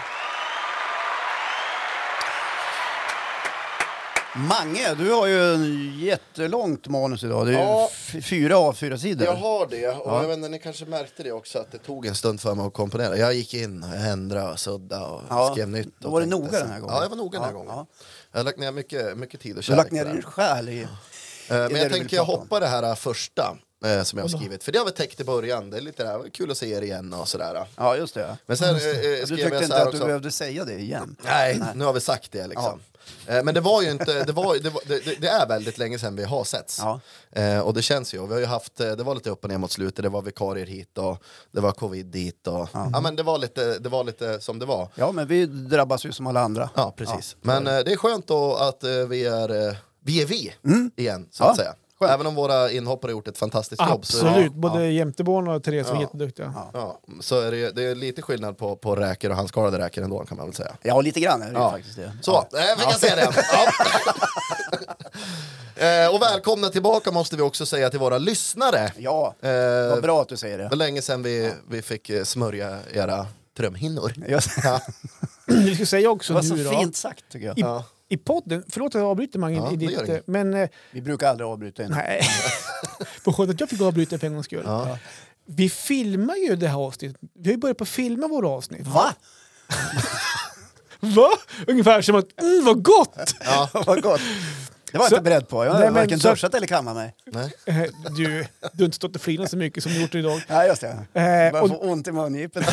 A: Mange, du har ju en jättelångt manus idag. Det är
C: Ja.
A: ja. fyra A4-sidor.
C: Jag har det, och jag vet inte, ni kanske märkte det också att det tog en stund för mig att komponera. Jag gick in och ändrade och sudda och
A: Ja,
C: skrev nytt.
A: då
C: och
A: var du
C: tänkte
A: noga
C: så-
A: den här gången.
C: Ja, jag var noga den här
A: Ja,
C: gången.
A: ja.
C: Jag har lagt ner mycket, mycket tid och
A: Du har
C: kärlek
A: lagt
C: på
A: ner
C: det här.
A: din själ i...
C: Eh, Men
A: det
C: jag
A: du
C: tänker
A: vill
C: jag
A: prata om.
C: hoppar det här första eh, som jag har skrivit. För det har vi täckt i början. Det är lite där, kul att se er igen och sådär.
A: Ja, just det.
C: Men sen eh, eh,
A: Du
C: skrev
A: tyckte
C: jag så
A: inte
C: här
A: att du
C: också.
A: behövde säga det igen.
C: Nej, nu har vi sagt det liksom. Eh, Men det var ju inte, det, var, det, var, det, det är väldigt länge sedan vi har setts.
A: Ja.
C: Eh, och det känns ju, och vi har ju haft, eh, det var lite upp och ner mot slutet, det var vikarier hit och det var covid dit och, ja, men det var, lite, det var lite som det var.
A: Ja, men vi drabbas ju som alla andra.
C: Ja, precis. men eh, det är skönt då att eh, vi är, eh, vi är vi igen, så
A: Ja,
C: att säga. Även om våra inhoppare har gjort ett fantastiskt jobb så,
B: Absolut, både Jämteborn och Therese var
C: Ja.
B: jätteduktiga.
C: ja, så är det, ju- det är lite skillnad på, på räker och handskalade räker ändå kan man väl säga.
A: Ja, lite grann är det ju
C: Ja.
A: faktiskt det.
C: Så, ja. jag kan säga [laughs] det. Ja. Eh, och välkomna tillbaka måste vi också säga till våra lyssnare.
A: Ja,
C: Eh,
A: vad bra att du säger det.
C: Det var länge sedan vi, vi fick eh, smörja era trumhinnor.
A: Jag-
B: [clears throat] Vi ska säga
A: Det
B: också
A: var
B: nu
A: så
B: då,
A: fint sagt, tycker jag.
B: I, i podden, förlåt att jag avbryter Mange,
C: Ja,
B: i
C: det gör
B: ditt,
C: inget.
B: men eh,
A: Vi brukar aldrig [laughs] avbryta in.
B: nej. [laughs] Vad skönt att jag fick avbryta för en gångs skull. Vi filmar ju det här avsnittet. Vi har ju börjat på att filma våra avsnitt.
A: Va?
B: Va? Ungefär som att mm, vad gott! [laughs]
C: Ja.
A: [laughs] Vad gott. Det var jag
B: Så-
A: inte beredd på. Jag
B: Nej,
A: har
B: men
A: varken
B: så-
A: duschat eller kammat mig.
C: Nej.
B: Eh, du, du har inte stått och flinat så mycket som du gjort idag.
A: Nej, just det.
B: Eh,
A: Jag börjar
B: och-
A: få ont i
B: [laughs]
A: mungipen.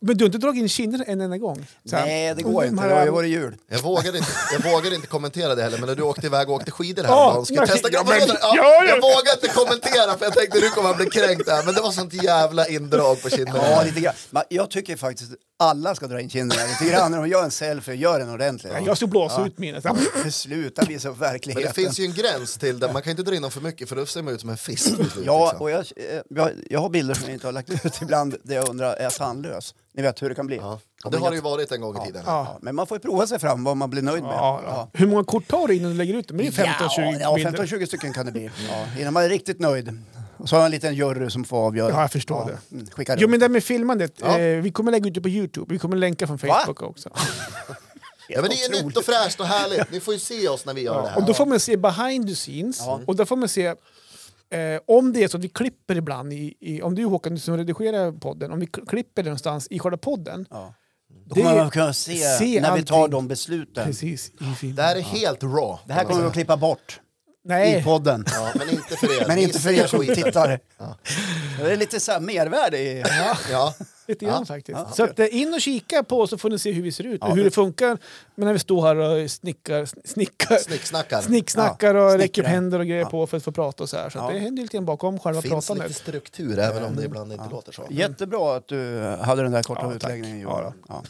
B: Men du har inte dragit in kinderna en enda gång? Så här,
A: Nej, det går ju
B: de
A: inte.
B: här-
A: Det har ju varit jul.
C: Jag vågar inte, jag vågar inte kommentera det heller, men när du åkte iväg och åkte skidor här
B: Ja,
C: och skulle
B: jag-
C: testa
B: ja,
C: ja,
B: men-
C: ja,
B: ja,
C: Jag
B: ja.
C: vågar inte kommentera för jag tänkte nu kommer han bli kränkt där, men det var sånt jävla indrag på kinderna.
A: Ja, lite grann. Men jag tycker faktiskt att alla ska dra in kinderna lite grann. När de gör en selfie, gör den ordentligt.
B: Jag ska blåsa ut mina. Så här,
A: Sluta visa upp
C: Men
A: verkligheten.
C: det finns ju en gräns till där man kan inte dra in dem för mycket för då ser man ut som en fisk. till slut,
A: Ja,
C: liksom.
A: och jag, eh, jag, jag har bilder som jag inte har lagt ut ibland där jag undrar, är jag tandlös? Ni vet hur det kan bli.
C: Ja.
A: Om
C: Det
A: man
C: har det ju
A: inte-
C: varit en gång i tiden.
A: ja, men man får ju prova sig fram vad man blir nöjd med.
B: Ja, ja. Hur många kort tar du innan du lägger ut dem? Det är 15-20
A: ja,
B: bilder.
A: 15-20 stycken kan det bli. Ja, innan man är riktigt nöjd. Och så har man en liten jury som får avgöra.
B: Ja, jag förstår det.
A: Mm, skicka
B: Jo
A: runt.
B: men det här med filmandet,
C: Ja.
B: eh, vi kommer lägga ut det på Youtube, vi kommer länka från Facebook också.
C: Ja, men det är nytt och fräscht och härligt. Ni får ju se oss när vi gör det
B: Och
C: här.
B: då får man se behind the scenes, och då får man se eh, om det är så att vi klipper ibland, i, i, om det är Håkan du som redigerar podden, om vi k- klipper det någonstans i själva podden,
A: Ja. Då
B: Det-
A: kommer man kunna se,
B: se
A: när vi tar
B: allting.
A: de besluten.
B: precis i filmen.
C: Det här är helt raw.
A: Det här kommer vi att klippa bort i
B: Nej,
A: podden.
C: Ja, men inte för er.
A: Men
C: Ni
A: inte för
C: ser
A: er som
C: skiten.
A: tittar. Det är lite så här mervärde i...
C: Ja.
B: lite grann faktiskt. så att, eh, in och kika på oss så får ni se hur vi ser ut och hur det funkar men när vi står här och snickar, sn- snickar,
C: Snicksnackar.
B: snicksnackar
A: Ja,
B: och räcker
A: snickrar.
B: upp händer och grejer på för att få prata och så här. Så att det händer lite grann bakom själva
C: Det finns lite
B: pratandet.
C: struktur även
A: Mm.
C: om det ibland inte låter så.
A: Jättebra att du hade den där korta
B: Ja, tack.
A: utläggningen Johan. Ja.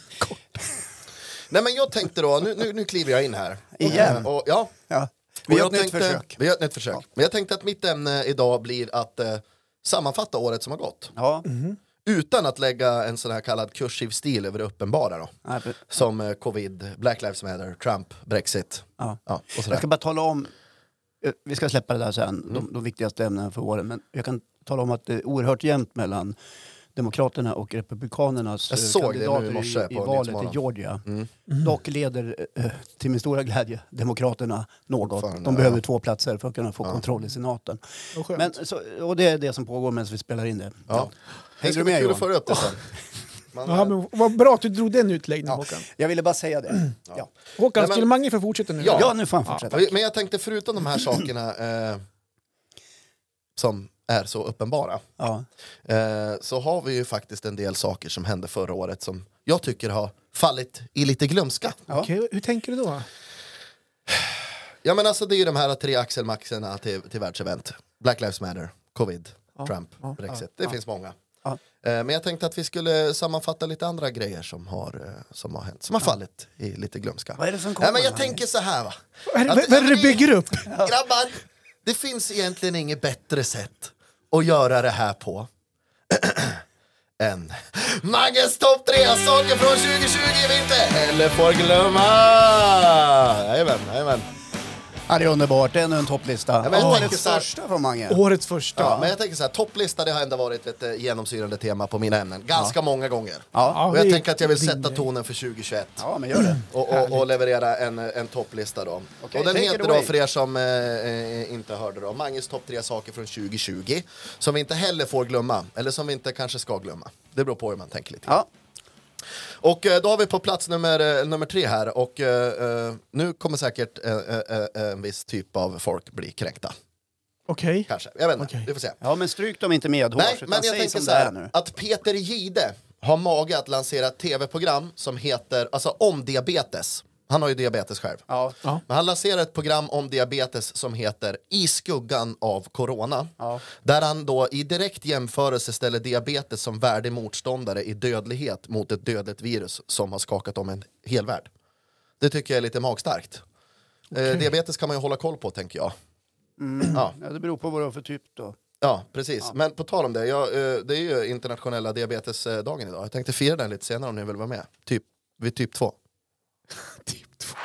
C: Nej men jag tänkte då, nu, nu, nu kliver jag in här.
A: Igen?
C: Och, ja.
A: Ja.
C: Och
A: Vi gör
C: jag
A: ett nytt
C: tänkte-
A: försök.
C: Vi gör ett nytt försök. Men jag tänkte att mitt ämne idag blir att eh, sammanfatta året som har gått.
A: Ja.
B: Mm.
C: Utan att lägga en sån här kallad kursiv stil över det uppenbara då.
A: Nej, för-
C: Som eh, covid, Black Lives Matter, Trump, Brexit.
A: Ja.
C: Ja, och
A: Jag
C: sådär.
A: ska bara tala om, eh, vi ska släppa det där
C: Mm.
A: sen, de, de viktigaste ämnena för åren, men jag kan tala om att det är oerhört jämnt mellan Demokraterna och Republikanernas
C: Jag
A: eh,
C: såg det nu i
A: kandidater
C: morse
A: i, i
C: på
A: valet i
C: Nyhetsmorgon. Mm.
A: Georgia. Dock leder, eh, till min stora glädje, Demokraterna något.
C: Fan,
A: de
C: ja.
A: behöver två platser för att kunna få kontroll i senaten.
B: Vad skönt.
A: Men, så, och det är det som pågår medan vi spelar in det.
C: Ja. Det
A: Hängde
C: ska
A: du
C: bli
A: med
C: kul att
A: Johan?
C: föra upp det sen. Man,
B: Ja, men vad bra att du drog den utläggningen Håkan.
A: Jag ville bara säga det. Ja,
B: Håkan,
C: Nej, men-
B: skulle Mange få fortsätta nu?
A: ja nu får han fortsätta.
C: Men- Men jag tänkte förutom de här sakerna eh, som är så uppenbara
A: Ja.
C: eh, så har vi ju faktiskt en del saker som hände förra året som jag tycker har fallit i lite glömska.
A: Ja.
B: Okej, hur tänker du då?
C: Ja men alltså det är ju de här tre axelmaxerna till, till världsevent. Black Lives Matter, Covid, Trump, Brexit. det finns många.
A: Ja.
C: Eh, Men jag tänkte att vi skulle sammanfatta lite andra grejer som har, eh, som har hänt, som har fallit i lite glömska.
A: Vad är det som
C: Nej, men
A: kommer,
C: jag
A: Mange?
C: tänker så här va.
B: Vad är det-
C: Att-
B: vad är det du bygger upp?
C: Grabbar, det finns egentligen inget bättre sätt att göra det här på [clears throat] än Magges topp tre saker från 2020 vi inte heller får glömma! Jajamän, jajamän.
A: Ja, det är underbart. Det är ännu en topplista.
C: men jag tänker
A: Årets
C: så här-
A: första från Mange.
B: Årets första.
C: Ja, men jag tänker så här, topplista det har ändå varit ett eh, genomsyrande tema på mina ämnen. Ganska många gånger.
A: Ja.
B: Ja,
C: Och jag
B: det-
C: tänker att jag vill
B: det-
C: sätta tonen för 2021.
A: ja, men gör det.
C: Och, och, och leverera en, en topplista då.
A: Okej,
C: och den
A: take it
C: heter då,
A: away.
C: för er som eh, eh, inte hörde då, Manges topp tre saker från 2020. Som vi inte heller får glömma, eller som vi inte kanske ska glömma. Det beror på hur man tänker lite.
A: Ja.
C: Och eh, då har vi på plats nummer, eh, nummer tre här och eh, eh, nu kommer säkert eh, eh, eh, en viss typ av folk bli kränkta.
B: Okej.
C: Kanske, jag vet inte,
B: Okej.
C: vi får se.
A: ja, men stryk dem inte medhårs.
C: Nej,
A: utan
C: men jag
A: säg
C: tänker
A: som
C: så
A: det är
C: här,
A: nu.
C: att Peter Gide har mage att lansera ett tv-program som heter, alltså om diabetes. Han har ju diabetes själv.
A: Ja.
B: Ja.
C: Men han lanserar ett program om diabetes som heter I skuggan av corona.
A: Ja.
C: Där han då i direkt jämförelse ställer diabetes som värdig motståndare i dödlighet mot ett dödligt virus som har skakat om en hel värld. Det tycker jag är lite magstarkt. Eh, diabetes kan man ju hålla koll på tänker jag. Ja.
A: Ja, det beror på vad du har för typ då.
C: Ja, precis. Men på tal om det, jag, eh, det är ju internationella diabetesdagen idag. Jag tänkte fira den lite senare om ni vill vara med. Typ, vid typ två.
B: Typ två.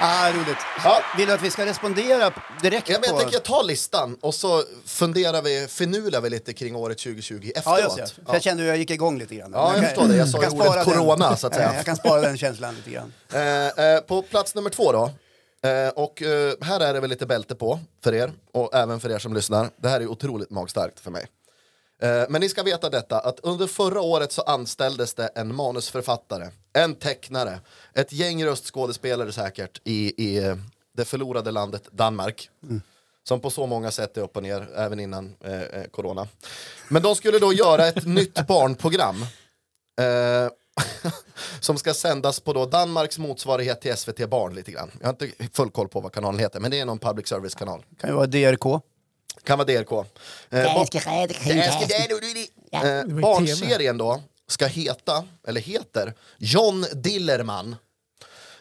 A: Ah, roligt.
C: Ja.
A: Vill du att vi ska respondera p- direkt
C: Ja, men jag
A: på...
C: tänker jag tar listan och så funderar vi, finular vi lite kring året 2020
A: Ja,
C: efteråt.
A: just det. För Jag kände hur jag gick igång lite grann.
C: Ja, jag
A: kan-
C: förstår det. Jag sa ju
A: kan
C: ordet
A: spara den.
C: corona, så att säga.
A: Eh, Jag kan spara den känslan lite grann.
C: Eh, eh, på plats nummer två då. Eh, och eh, här är det väl lite bälte på för er och även för er som lyssnar. Det här är otroligt magstarkt för mig. Eh, men ni ska veta detta att under förra året så anställdes det en manusförfattare, en tecknare, ett gäng röstskådespelare säkert i, i eh, det förlorade landet Danmark. Som på så många sätt är upp och ner, även innan eh, eh, corona. Men de skulle då göra ett nytt barnprogram. Eh, som ska sändas på då Danmarks motsvarighet till SVT Barn lite grann. Jag har inte full koll på vad kanalen heter, men det är någon public service-kanal.
A: Kan ju vara DRK.
C: Kan vara DRK. Eh, ba- Danske Radio, du- du- Eh,
B: TV.
C: Barnserien då ska heta, eller heter, John Dillerman.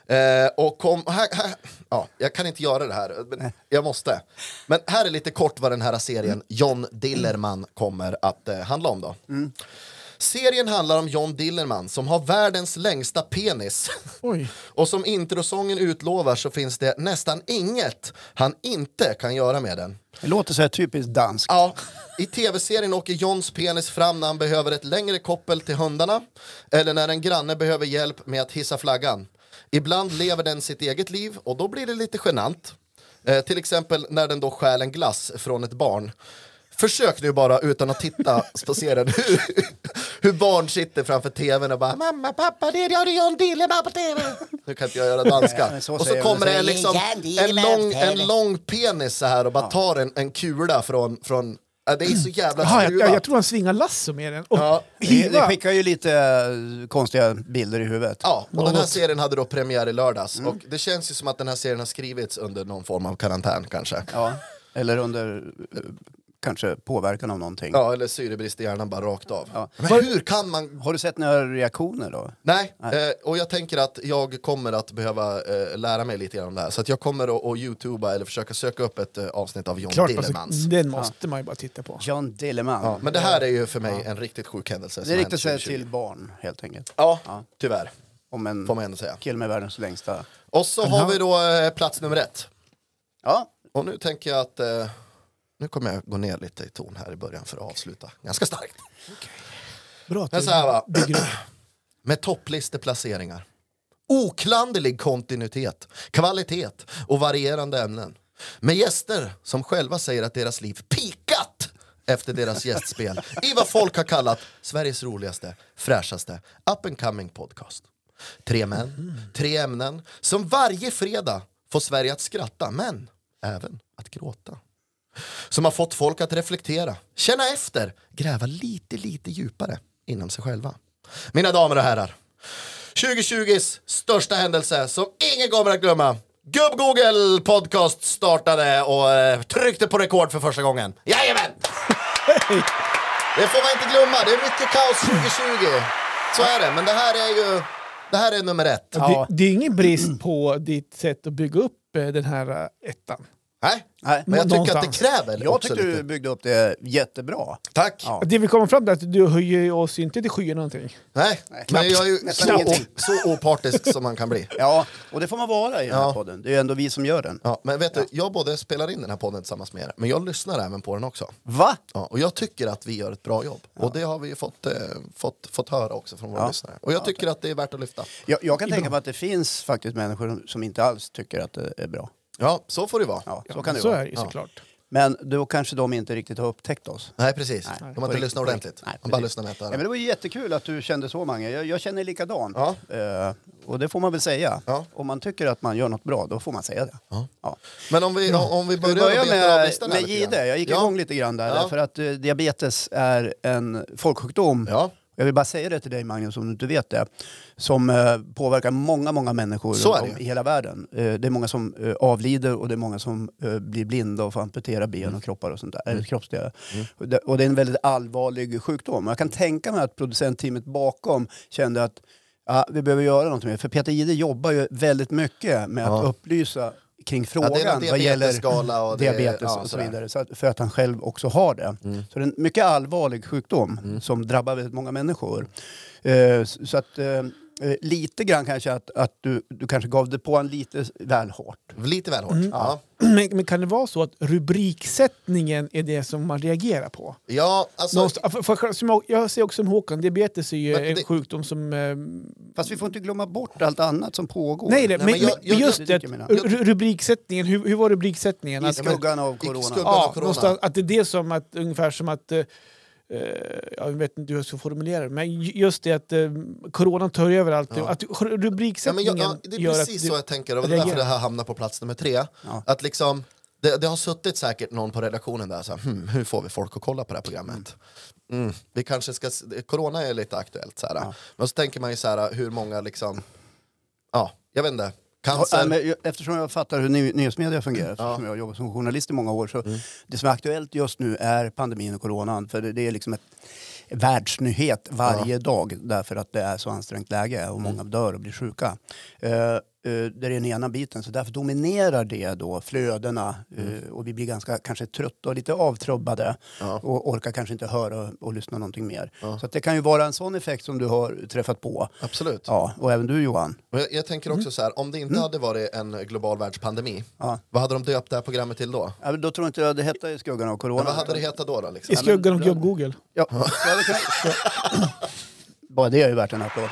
C: Eh, och kom, här, här, ja, jag kan inte göra det här, men jag måste. Men här är lite kort vad den här serien John Dillerman kommer att eh, handla om då. Serien handlar om John Dillerman som har världens längsta penis.
B: Oj.
C: Och som introsången utlovar så finns det nästan inget han inte kan göra med den.
A: Det låter så här typiskt danskt.
C: Ja, i tv-serien åker Johns penis fram när han behöver ett längre koppel till hundarna eller när en granne behöver hjälp med att hissa flaggan. Ibland lever den sitt eget liv och då blir det lite genant. Eh, till exempel när den då stjäl en glass från ett barn. Försök nu bara utan att titta på serien [laughs] hur, hur barn sitter framför tvn och bara Mamma, pappa, det är John Dillerman på tv. Nu kan inte jag göra danska.
A: Nej, men så
C: och så
A: säger
C: kommer
A: vi.
C: det en, liksom, en, lång, en lång penis så här och bara tar en, en kula från... från ja, det är så jävla
B: Jaha, jag,
C: skruvat.
B: jag, jag tror han svingar lasso med den. Och
C: Ja.
A: Det, det
B: hiva.
A: skickar ju lite eh, konstiga bilder i huvudet.
C: Ja, och den här
B: Något.
C: serien hade då premiär i lördags och det känns ju som att den här serien har skrivits under någon form av karantän kanske.
A: Ja. Eller under eh, kanske påverkan av någonting.
C: Ja, eller syrebrist i hjärnan bara rakt av.
A: Ja.
C: Men hur kan man
A: Har du sett några reaktioner då?
C: Nej, Eh, och jag tänker att jag kommer att behöva eh, lära mig lite grann om det här. Så att jag kommer att, att youtuba eller försöka söka upp ett eh, avsnitt av John
B: Klart,
C: Dillemans.
B: alltså, den måste man ju bara titta på.
A: John Dillerman.
C: Ja, men det här är ju för mig en riktigt sjuk händelse. som
A: det riktar
C: hänt
A: sig
C: 2020.
A: till barn helt enkelt.
C: Ja, tyvärr.
A: Om en
C: Får man ändå säga.
A: kille med världens längsta...
C: Och så har vi då eh, plats nummer ett.
A: Ja,
C: Och nu tänker jag att eh, nu kommer jag gå ner lite i ton här i början för att avsluta ganska starkt.
B: Bra att
C: Men
B: du
C: så här va,
B: bygger [clears throat] upp.
C: med topplisteplaceringar. Oklanderlig kontinuitet, kvalitet och varierande ämnen. Med gäster som själva säger att deras liv pikat efter deras gästspel i vad folk har kallat Sveriges roligaste, fräschaste up and coming podcast. Tre män, tre ämnen som varje fredag får Sverige att skratta men även att gråta som har fått folk att reflektera, känna efter, gräva lite, lite djupare inom sig själva. Mina damer och herrar, 2020s största händelse som ingen kommer att glömma. Gubb Google Podcast startade och eh, tryckte på rekord för första gången. Jajamän! Det får man inte glömma, det är mycket kaos 2020. Så är det, men det här är ju, det här är nummer ett.
B: Det, det är ingen brist på ditt sätt att bygga upp eh, den här eh, ettan.
C: Nej,
A: Nej.
C: men jag tycker att det
B: Någonstans.
C: kräver
A: Jag
C: också
A: tyckte du
C: lite.
A: byggde upp det jättebra.
C: Tack!
A: Ja.
B: Det vi kommer fram till är att du höjer oss inte till skyarna någonting.
C: Nej, men
A: knappt.
C: jag är ju
A: Nästan
C: så,
A: ingenting.
C: o- så opartisk som man kan bli.
A: Ja, och det får man vara i den här
C: Ja.
A: podden. Det är ju ändå vi som gör den.
C: Ja, men vet du, jag både spelar in den här podden tillsammans med er, men jag lyssnar även på den också.
A: Va?
C: Ja, och jag tycker att vi gör ett bra jobb. Och det har vi ju fått, eh, fått, fått höra också från våra
A: Ja.
C: lyssnare. Och jag tycker att det är värt att lyfta.
A: Jag, jag kan tänka mig att det finns faktiskt människor som inte alls tycker att det är bra.
C: Ja, så får det vara.
A: Ja, så kan det
B: så
A: vara.
B: är det ju såklart. [clears throat]
A: Men då kanske de inte riktigt har upptäckt oss.
C: Nej, precis.
A: Nej,
C: De har inte
A: på
C: lyssnat
A: riktigt, på
C: ordentligt.
A: riktigt. Nej,
C: De bara
A: precis.
C: lyssnar med ett
A: Ja,
C: öra.
A: men det var ju jättekul att du kände så många. Jag, jag känner likadant.
C: Ja.
A: Eh, och det får man väl säga.
C: Ja.
A: Om man tycker att man gör något bra, då får man säga det.
C: Ja.
A: Ja.
C: Men om vi, om vi
A: Ska vi
C: börjar
A: börja
C: att beta av
A: med,
C: listan här
A: med
C: lite grann?
A: Jihde? Jag gick
C: ja.
A: igång lite grann där,
C: Ja.
A: för att eh, diabetes är en folksjukdom.
C: Ja.
A: Jag vill bara säga det till dig Magnus, om du inte vet det. Som eh, påverkar många, många människor
C: Så är
A: runt
C: det
A: om
C: ju.
A: i hela världen. Eh, det är många som eh, avlider och det är många som eh, blir blinda och får amputera
C: Mm.
A: ben och kroppar och sånt där. Eller kroppsdelar. Och det- Och det är en väldigt allvarlig sjukdom. Jag kan tänka mig att producentteamet bakom kände att ja, vi behöver göra någonting mer. För Peter Jihde jobbar ju väldigt mycket med
C: Ja.
A: att upplysa kring
C: Ja,
A: frågan
C: det är en
A: vad gäller
C: diabetesskala och det,
A: diabetes
C: ja,
A: och så
C: sådär. Mm.
A: vidare. Så att, för att han själv också har det. Så det är en mycket allvarlig sjukdom som drabbar väldigt många människor. Eh, s- så att, eh, eh, lite grann kanske att, att du, du kanske gav det på en lite s- väl hårt.
C: Lite väl
A: Mm.
C: hårt. Ja.
B: Men, men kan det vara så att rubriksättningen är det som man reagerar på?
C: ja, alltså...
B: Någonstans- för, för, som jag, jag ser också som Håkan, diabetes är ju
C: Men
B: en
C: det-
B: sjukdom som... Eh,
A: Fast vi får inte glömma bort allt annat som pågår.
B: nej, det,
C: men
B: men,
C: jag-
B: men
C: jag-
B: just
A: jag-
B: det,
A: jag menar.
B: ru- rubriksättningen, hur, hur var rubriksättningen?
A: I
B: Att,
A: skuggan av
C: I
A: corona.
C: skuggan- av
B: ja,
C: corona.
B: någonstans, att det är det som att, ungefär som att... Eh, eh, jag vet inte hur jag ska formulera det, men ju- just det att eh, coronan tar över allt. Att
C: Ja, men
B: rubriksättningen
C: jag, ja, det är
B: gör
C: precis
B: att...
C: så
B: du-
C: jag tänker. Och det är därför
B: reagerar.
C: det här hamnar på plats nummer tre.
A: Ja.
C: Att liksom, det, det har suttit säkert någon på redaktionen där så här, hm, hur får vi folk att kolla på det här programmet? Mm. Vi kanske ska, s- corona är lite aktuellt så här. Men så tänker man ju så här, hur många liksom, ja, jag vet inte,
A: Ja,
C: cancer.
A: nej, men jag- Eftersom jag fattar hur ny, nyhetsmedia fungerar, eftersom jag har jobbat som journalist i många år, så det som är aktuellt just nu är pandemin och coronan. För det, det är liksom ett världsnyhet varje dag därför att det är så ansträngt läge och många dör och blir sjuka. Eh, eh, det är den ena biten, så därför dominerar det då flödena eh, och vi blir ganska kanske trötta och lite avtrubbade och orkar kanske inte höra och lyssna någonting mer. Så att det kan ju vara en sån effekt som du har träffat på.
C: Absolut.
A: Ja, och även du Johan.
C: Men Jag, jag tänker också så här, om det inte hade varit en global världspandemi,
A: Ja.
C: vad hade de döpt det här programmet till då?
A: Ja, men då tror jag inte jag det hette i skuggan av corona.
C: Men vad hade det hetat då? då liksom?
B: I skuggan av gubb-Google.
A: Ja. Ja, det kan...
C: [laughs]
A: Bara det är ju värt en applåd.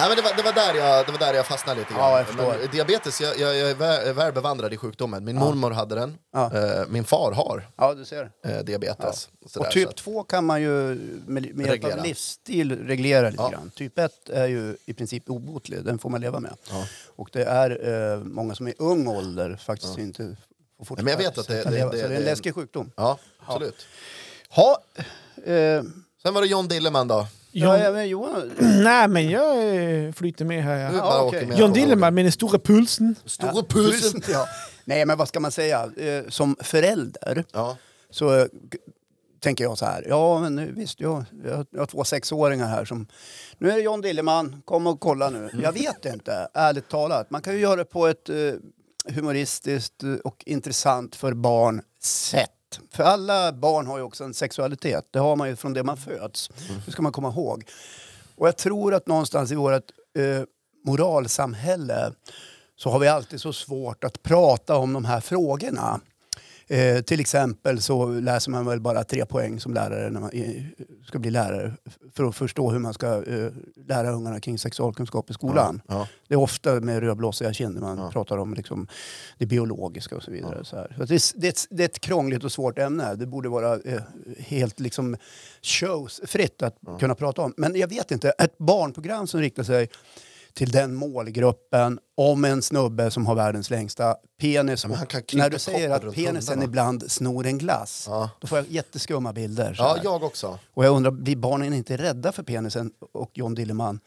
C: Nej, men det, var, det, var där jag, det var där jag fastnade lite grann.
A: Ja, jag förstår.
C: Men diabetes, jag, jag, jag är väl, är väl bevandrad i sjukdomen. Min mormor hade den,
A: Ja.
C: eh, min far har
A: Ja, du ser.
C: eh, diabetes. sådär,
A: Och
C: så
A: typ
C: att,
A: 2 kan man ju med, med hjälp
C: Reglera.
A: av livsstil reglera lite
C: Ja.
A: grann. Typ 1 är ju i princip obotlig, den får man leva med.
C: Ja.
A: Och det är eh, många som i ung åter faktiskt inte får fortsätta.
C: Men jag vet att det-
A: kan
C: det-
A: leva.
C: det-
A: Så det är en
C: det-
A: läskig sjukdom.
C: ja, absolut.
A: Ha, eh,
C: Sen var det John Dillerman då.
A: ja,
B: John-
A: ja, men Johan...
B: [clears throat] Nej, men jag eh, flyter med här.
C: Du
B: Ja.
C: bara
A: okej.
C: åker med
B: John
C: på
B: Dillerman med den stora pulsen.
C: vågen. Stora pulsen!
A: Tusen, [laughs] ja. Nej, men vad ska man säga? Eh, som förälder
C: Ja.
A: så eh, g- tänker jag så här. Ja, men nu, visst, jag, jag, har- jag har två sexåringar här som... Nu är det John Dillerman, kom och kolla nu. Jag vet inte, ärligt talat. Man kan ju göra det på ett eh, humoristiskt eh, och intressant för barn sätt. För alla barn har ju också en sexualitet. Det har man ju från det man föds. Det ska man komma ihåg. Och jag tror att någonstans i vårt eh, moralsamhälle så har vi alltid så svårt att prata om de här frågorna. Eh, till exempel så läser man väl bara tre poäng som lärare när man eh, ska bli lärare för att förstå hur man ska eh, lära ungarna kring sexualkunskap i skolan.
C: Ja.
A: Det är ofta med rödblåsiga kinder man pratar om liksom det biologiska och så vidare. Så här. Så att det, är, det, är ett, det är ett krångligt och svårt ämne. Det borde vara eh, helt liksom showsfritt att kunna prata om. Men jag vet inte, ett barnprogram som riktar sig till den målgruppen om en snubbe som har världens längsta penis.
C: men han kan
A: Och
C: knyta
A: när du säger
C: koppen
A: att
C: runt
A: penisen
C: hundarna.
A: ibland snor en glass,
C: Ja.
A: då får jag jätteskumma bilder. så
C: ja,
A: här.
C: jag också.
A: Och jag undrar, blir barnen inte rädda för penisen och John Dillerman?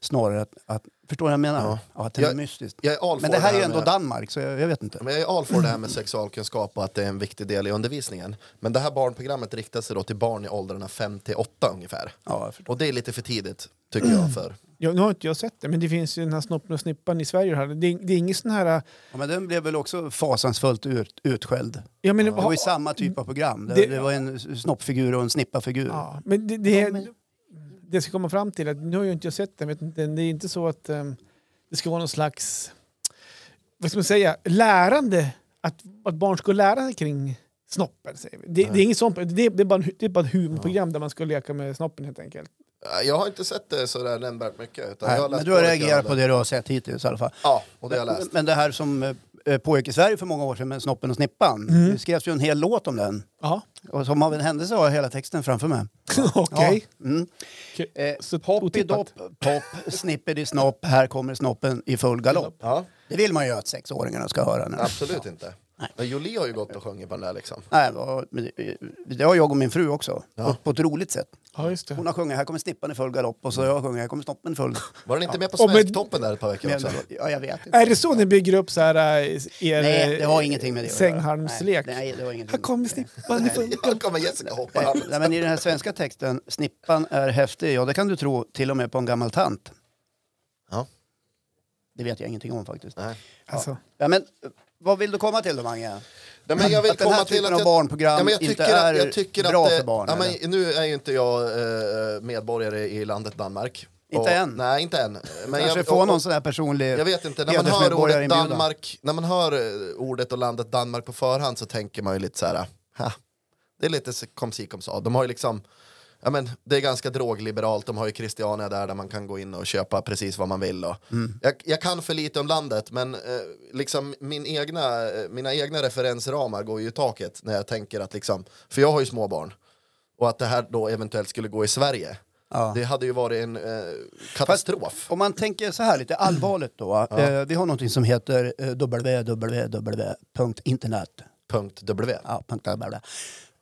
A: Snarare att, att förstår du vad jag menar?
C: Ja.
A: Ja. att det är
C: Jag-
A: mystiskt.
C: Jag är all
A: Men
C: for
A: det här är ju
C: med-
A: ändå Danmark, så jag, jag vet inte.
C: Men jag är all for det här med sexualkunskap och att det är en viktig del i undervisningen. Men det här barnprogrammet riktar sig då till barn i åldrarna 5 till 8 ungefär.
A: Ja, jag förstår.
C: Och det är lite för tidigt, tycker jag. för.
B: Ja, nu har inte jag sett det, men det finns ju den här snoppen och snippan i Sverige. Här. Det, är- det är inget sån här... eh,
A: ja, men den blev väl också fasansfullt ut, utskälld.
B: Jag menar,
A: Det var ju samma typ av program. Det,
B: Det-
A: det, var en snoppfigur och en snippafigur.
B: Ja, men det, det, det ska komma fram till att nu har ju inte jag sett den, vet inte, det är inte så att ehm, det ska vara någon slags, vad ska man säga, lärande, att, att barn ska lära sig kring snoppen. Säger vi. Det, det är inget sånt, det, det, är bara en, hu- det är bara ett humorprogram där man ska leka med snoppen helt enkelt.
C: Jag har inte sett det sådär nämnvärt mycket. Utan jag
A: Nej,
C: har läst
A: men du har
C: lite grann
A: reagerat på det du har sett hittills i alla fall.
C: Ja, och det har jag läst.
A: Men det här som eh, pågick i Sverige för många år sedan med Snoppen och Snippan.
B: Mm.
A: Det skrevs ju en hel låt om den.
B: Ja,
A: Och som av en händelse har jag hela texten framför mig.
B: [laughs] okej.
A: Ja, mm.
B: Okej.
A: eh,
B: Så
A: Poppy
B: otippat.
A: dopp, pop, snippity snopp, här kommer snoppen i full galopp.
C: Ja,
A: Det vill man ju att sexåringarna ska höra. Nu.
C: absolut inte. Men Jolie har ju gått och sjungit på den där liksom.
A: Nej, vad- men det- det har jag och min fru också, på, på ett roligt sätt.
B: Ja, just det.
A: Hon har sjungit Här kommer snippan i full galopp och så har jag sjungit Här kommer snoppen i full...
C: Var den inte med på
B: Och med-
C: Svensktoppen där ett par veckor
A: Men,
C: också?
A: ja, jag vet inte.
B: Är det så ni bygger upp så här, eh, er
A: Nej, det har
B: eh,
A: ingenting med det att göra.
B: sänghalmslek?
A: Nej, nej, det har ingenting
B: Här kommer
A: med det.
B: snippan.
C: Här kommer Jessica hoppa
A: Nej,
C: fram.
A: [laughs] Nej, men i den här svenska texten, snippan är häftig, ja det kan du tro till och med på en gammal tant.
C: Ja.
A: Det vet jag ingenting om faktiskt.
C: Nej.
B: Alltså.
A: Ja, men eh, vad vill du komma till då Mange?
C: Nej, men jag vill
A: Att den här
C: komma till
A: typen
C: att
A: av
C: jag,
A: barnprogram
C: ja, men jag
A: inte
C: tycker att,
A: är
C: jag tycker
A: bra
C: att, det-
A: för barn,
C: Ja, men,
A: eller?
C: nu är ju inte jag eh, medborgare i landet Danmark.
A: Inte än.
C: Nej, inte än. Men
A: Kanske
C: jag,
A: få
C: och-
A: någon sån här personlig
C: jag vet inte, när man, hör ordet
A: hedersmedborgarinbjudan.
C: Danmark, när man hör eh, ordet och landet Danmark på förhand så tänker man ju lite så här, ha, det är lite så- kom si kom sa. De har ju liksom, ja men det är ganska drogliberalt, de har ju Christiania där där man kan gå in och köpa precis vad man vill. Och. Jag, jag kan för lite om landet men eh, liksom min egna, eh, mina egna referensramar går ju i taket när jag tänker att liksom, för jag har ju småbarn och att det här då eventuellt skulle gå i Sverige.
A: Ja.
C: Det hade ju varit en eh, katastrof.
A: Om man tänker så här lite allvarligt då. Eh, vi har någonting som heter eh, www.internet.
C: Punkt W.
A: Ja, punkt bla, bla, bla.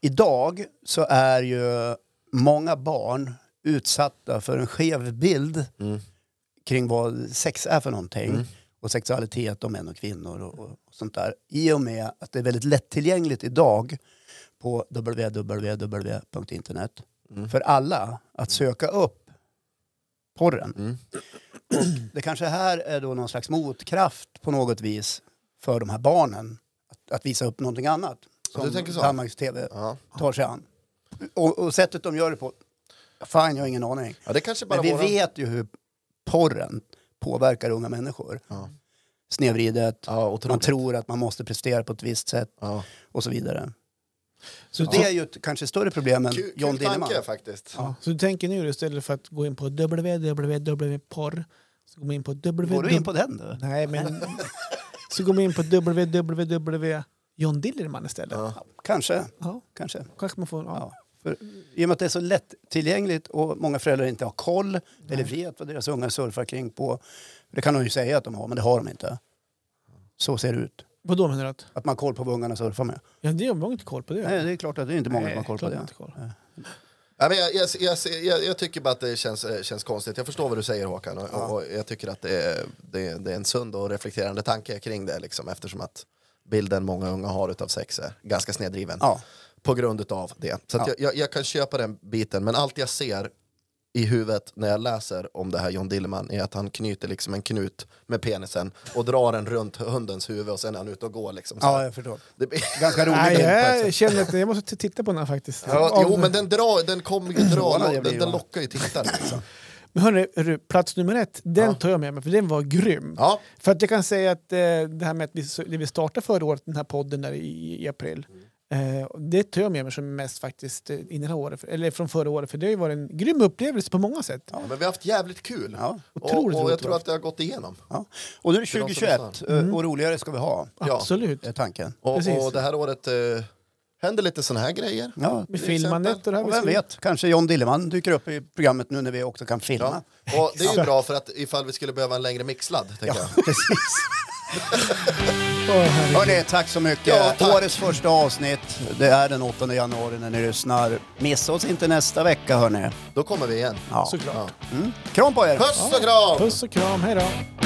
A: Idag så är ju många barn utsatta för en skev bild kring vad sex är för någonting. Och sexualitet och män och kvinnor och, och sånt där. I och med att det är väldigt lättillgängligt idag på www.internet
C: Mm.
A: för alla att söka upp porren.
C: Mm.
A: Och det kanske här är då någon slags motkraft på något vis för de här barnen att, att visa upp någonting annat. Som
C: du tänker så?
A: Danmarks TV
C: Ja.
A: tar sig an. Och, och sättet de gör det på, fan jag har ingen aning.
C: Ja, det kanske bara
A: Men vi
C: våran-
A: vet ju hur porren påverkar unga människor.
C: Ja.
A: Snedvridet,
C: Ja,
A: man
C: otroligt.
A: tror att man måste prestera på ett visst sätt
C: Ja.
A: och så vidare.
B: Så,
A: Det är ju ett kanske större problem än
C: Kul,
A: John
C: kul
A: Dinnerman.
C: tanke faktiskt.
B: Ja, så du tänker nu istället för att gå in på www.porr så går man in på www...
A: Går du in på den då?
B: Nej, men... så går man in på www... John Dillerman istället. Ja.
A: Kanske, kanske.
B: kanske man får... Ja.
A: Ja. För, I och med att det är så lättillgängligt och många föräldrar inte har koll eller vet vad deras unga surfar kring på. Det kan de ju säga att de har, men det har de inte. Så ser det ut.
B: Vadå menar du? Att?
A: Att man har koll på vad ungarna surfar med.
B: Ja, det har man inte koll på det.
A: Nej, det är klart att det är inte många som har koll på
B: klart
A: det.
B: inte koll.
C: Ja, men jag, jag, jag, jag, jag tycker bara att det känns, eh, känns konstigt. Jag förstår vad du säger Håkan och, och jag tycker att det är, det, är, det är en sund och reflekterande tanke kring det liksom, eftersom att bilden många unga har utav sex är ganska snedriven
A: Ja.
C: på grund utav det. Så att
A: Ja.
C: jag, jag, jag kan köpa den biten men allt jag ser i huvudet när jag läser om det här John Dillman är att han knyter liksom en knut med penisen och drar den runt hundens huvud och sen är han ute och går. Liksom, så här.
A: ja, jag förstår.
C: det blir...
A: Ganska roligt.
B: Nej,
C: på
B: jag känner att jag måste t- titta på den här faktiskt.
C: Ja,
B: Alltså, Av-
C: jo, men den, drar, den kommer ju dra,
A: Förvånad jag blir,
C: den, den
A: va?
C: lockar ju tittare. Liksom.
B: men hörni, hörru, plats nummer ett, den tar jag med mig för den var grym.
C: Ja,
B: För att jag kan säga att eh, det här med att vi, så- det vi startade förra året, den här podden där i, i april, eh, det tar jag med mig som mest faktiskt eh, in i det här året, eller från förra året, för det har ju varit en grym upplevelse på många sätt.
C: men vi har haft jävligt kul.
A: Ja.
B: Otroligt
C: och, och jag
B: roligt
C: tror att det har gått igenom.
A: Ja. Och nu är det
C: För de som
A: 2021 och roligare ska vi ha,
C: Ja.
B: Mm. Absolut.
A: är tanken.
C: Och,
B: Precis.
C: och det här året eh, händer lite såna här grejer.
A: Ja.
B: Med
C: till
B: filmandet och
C: exempel.
B: det här.
A: Och
B: med
A: vem
B: skri-
A: vet, kanske John Dilleman dyker upp i programmet nu när vi också kan filma.
C: Ja. Och det är ju bra för att ifall vi skulle behöva en längre mixladd. Tänker jag.
A: [laughs] Precis.
B: Åh, herregud.
A: Hörni, tack så mycket.
C: Ja, tack.
A: Årets första avsnitt. Det är den 8 januari när ni lyssnar. Missa oss inte nästa vecka hörni.
C: Då kommer vi igen.
A: Ja.
B: Såklart.
A: Kram på er!
C: Puss och kram!
B: Puss och kram, hej då.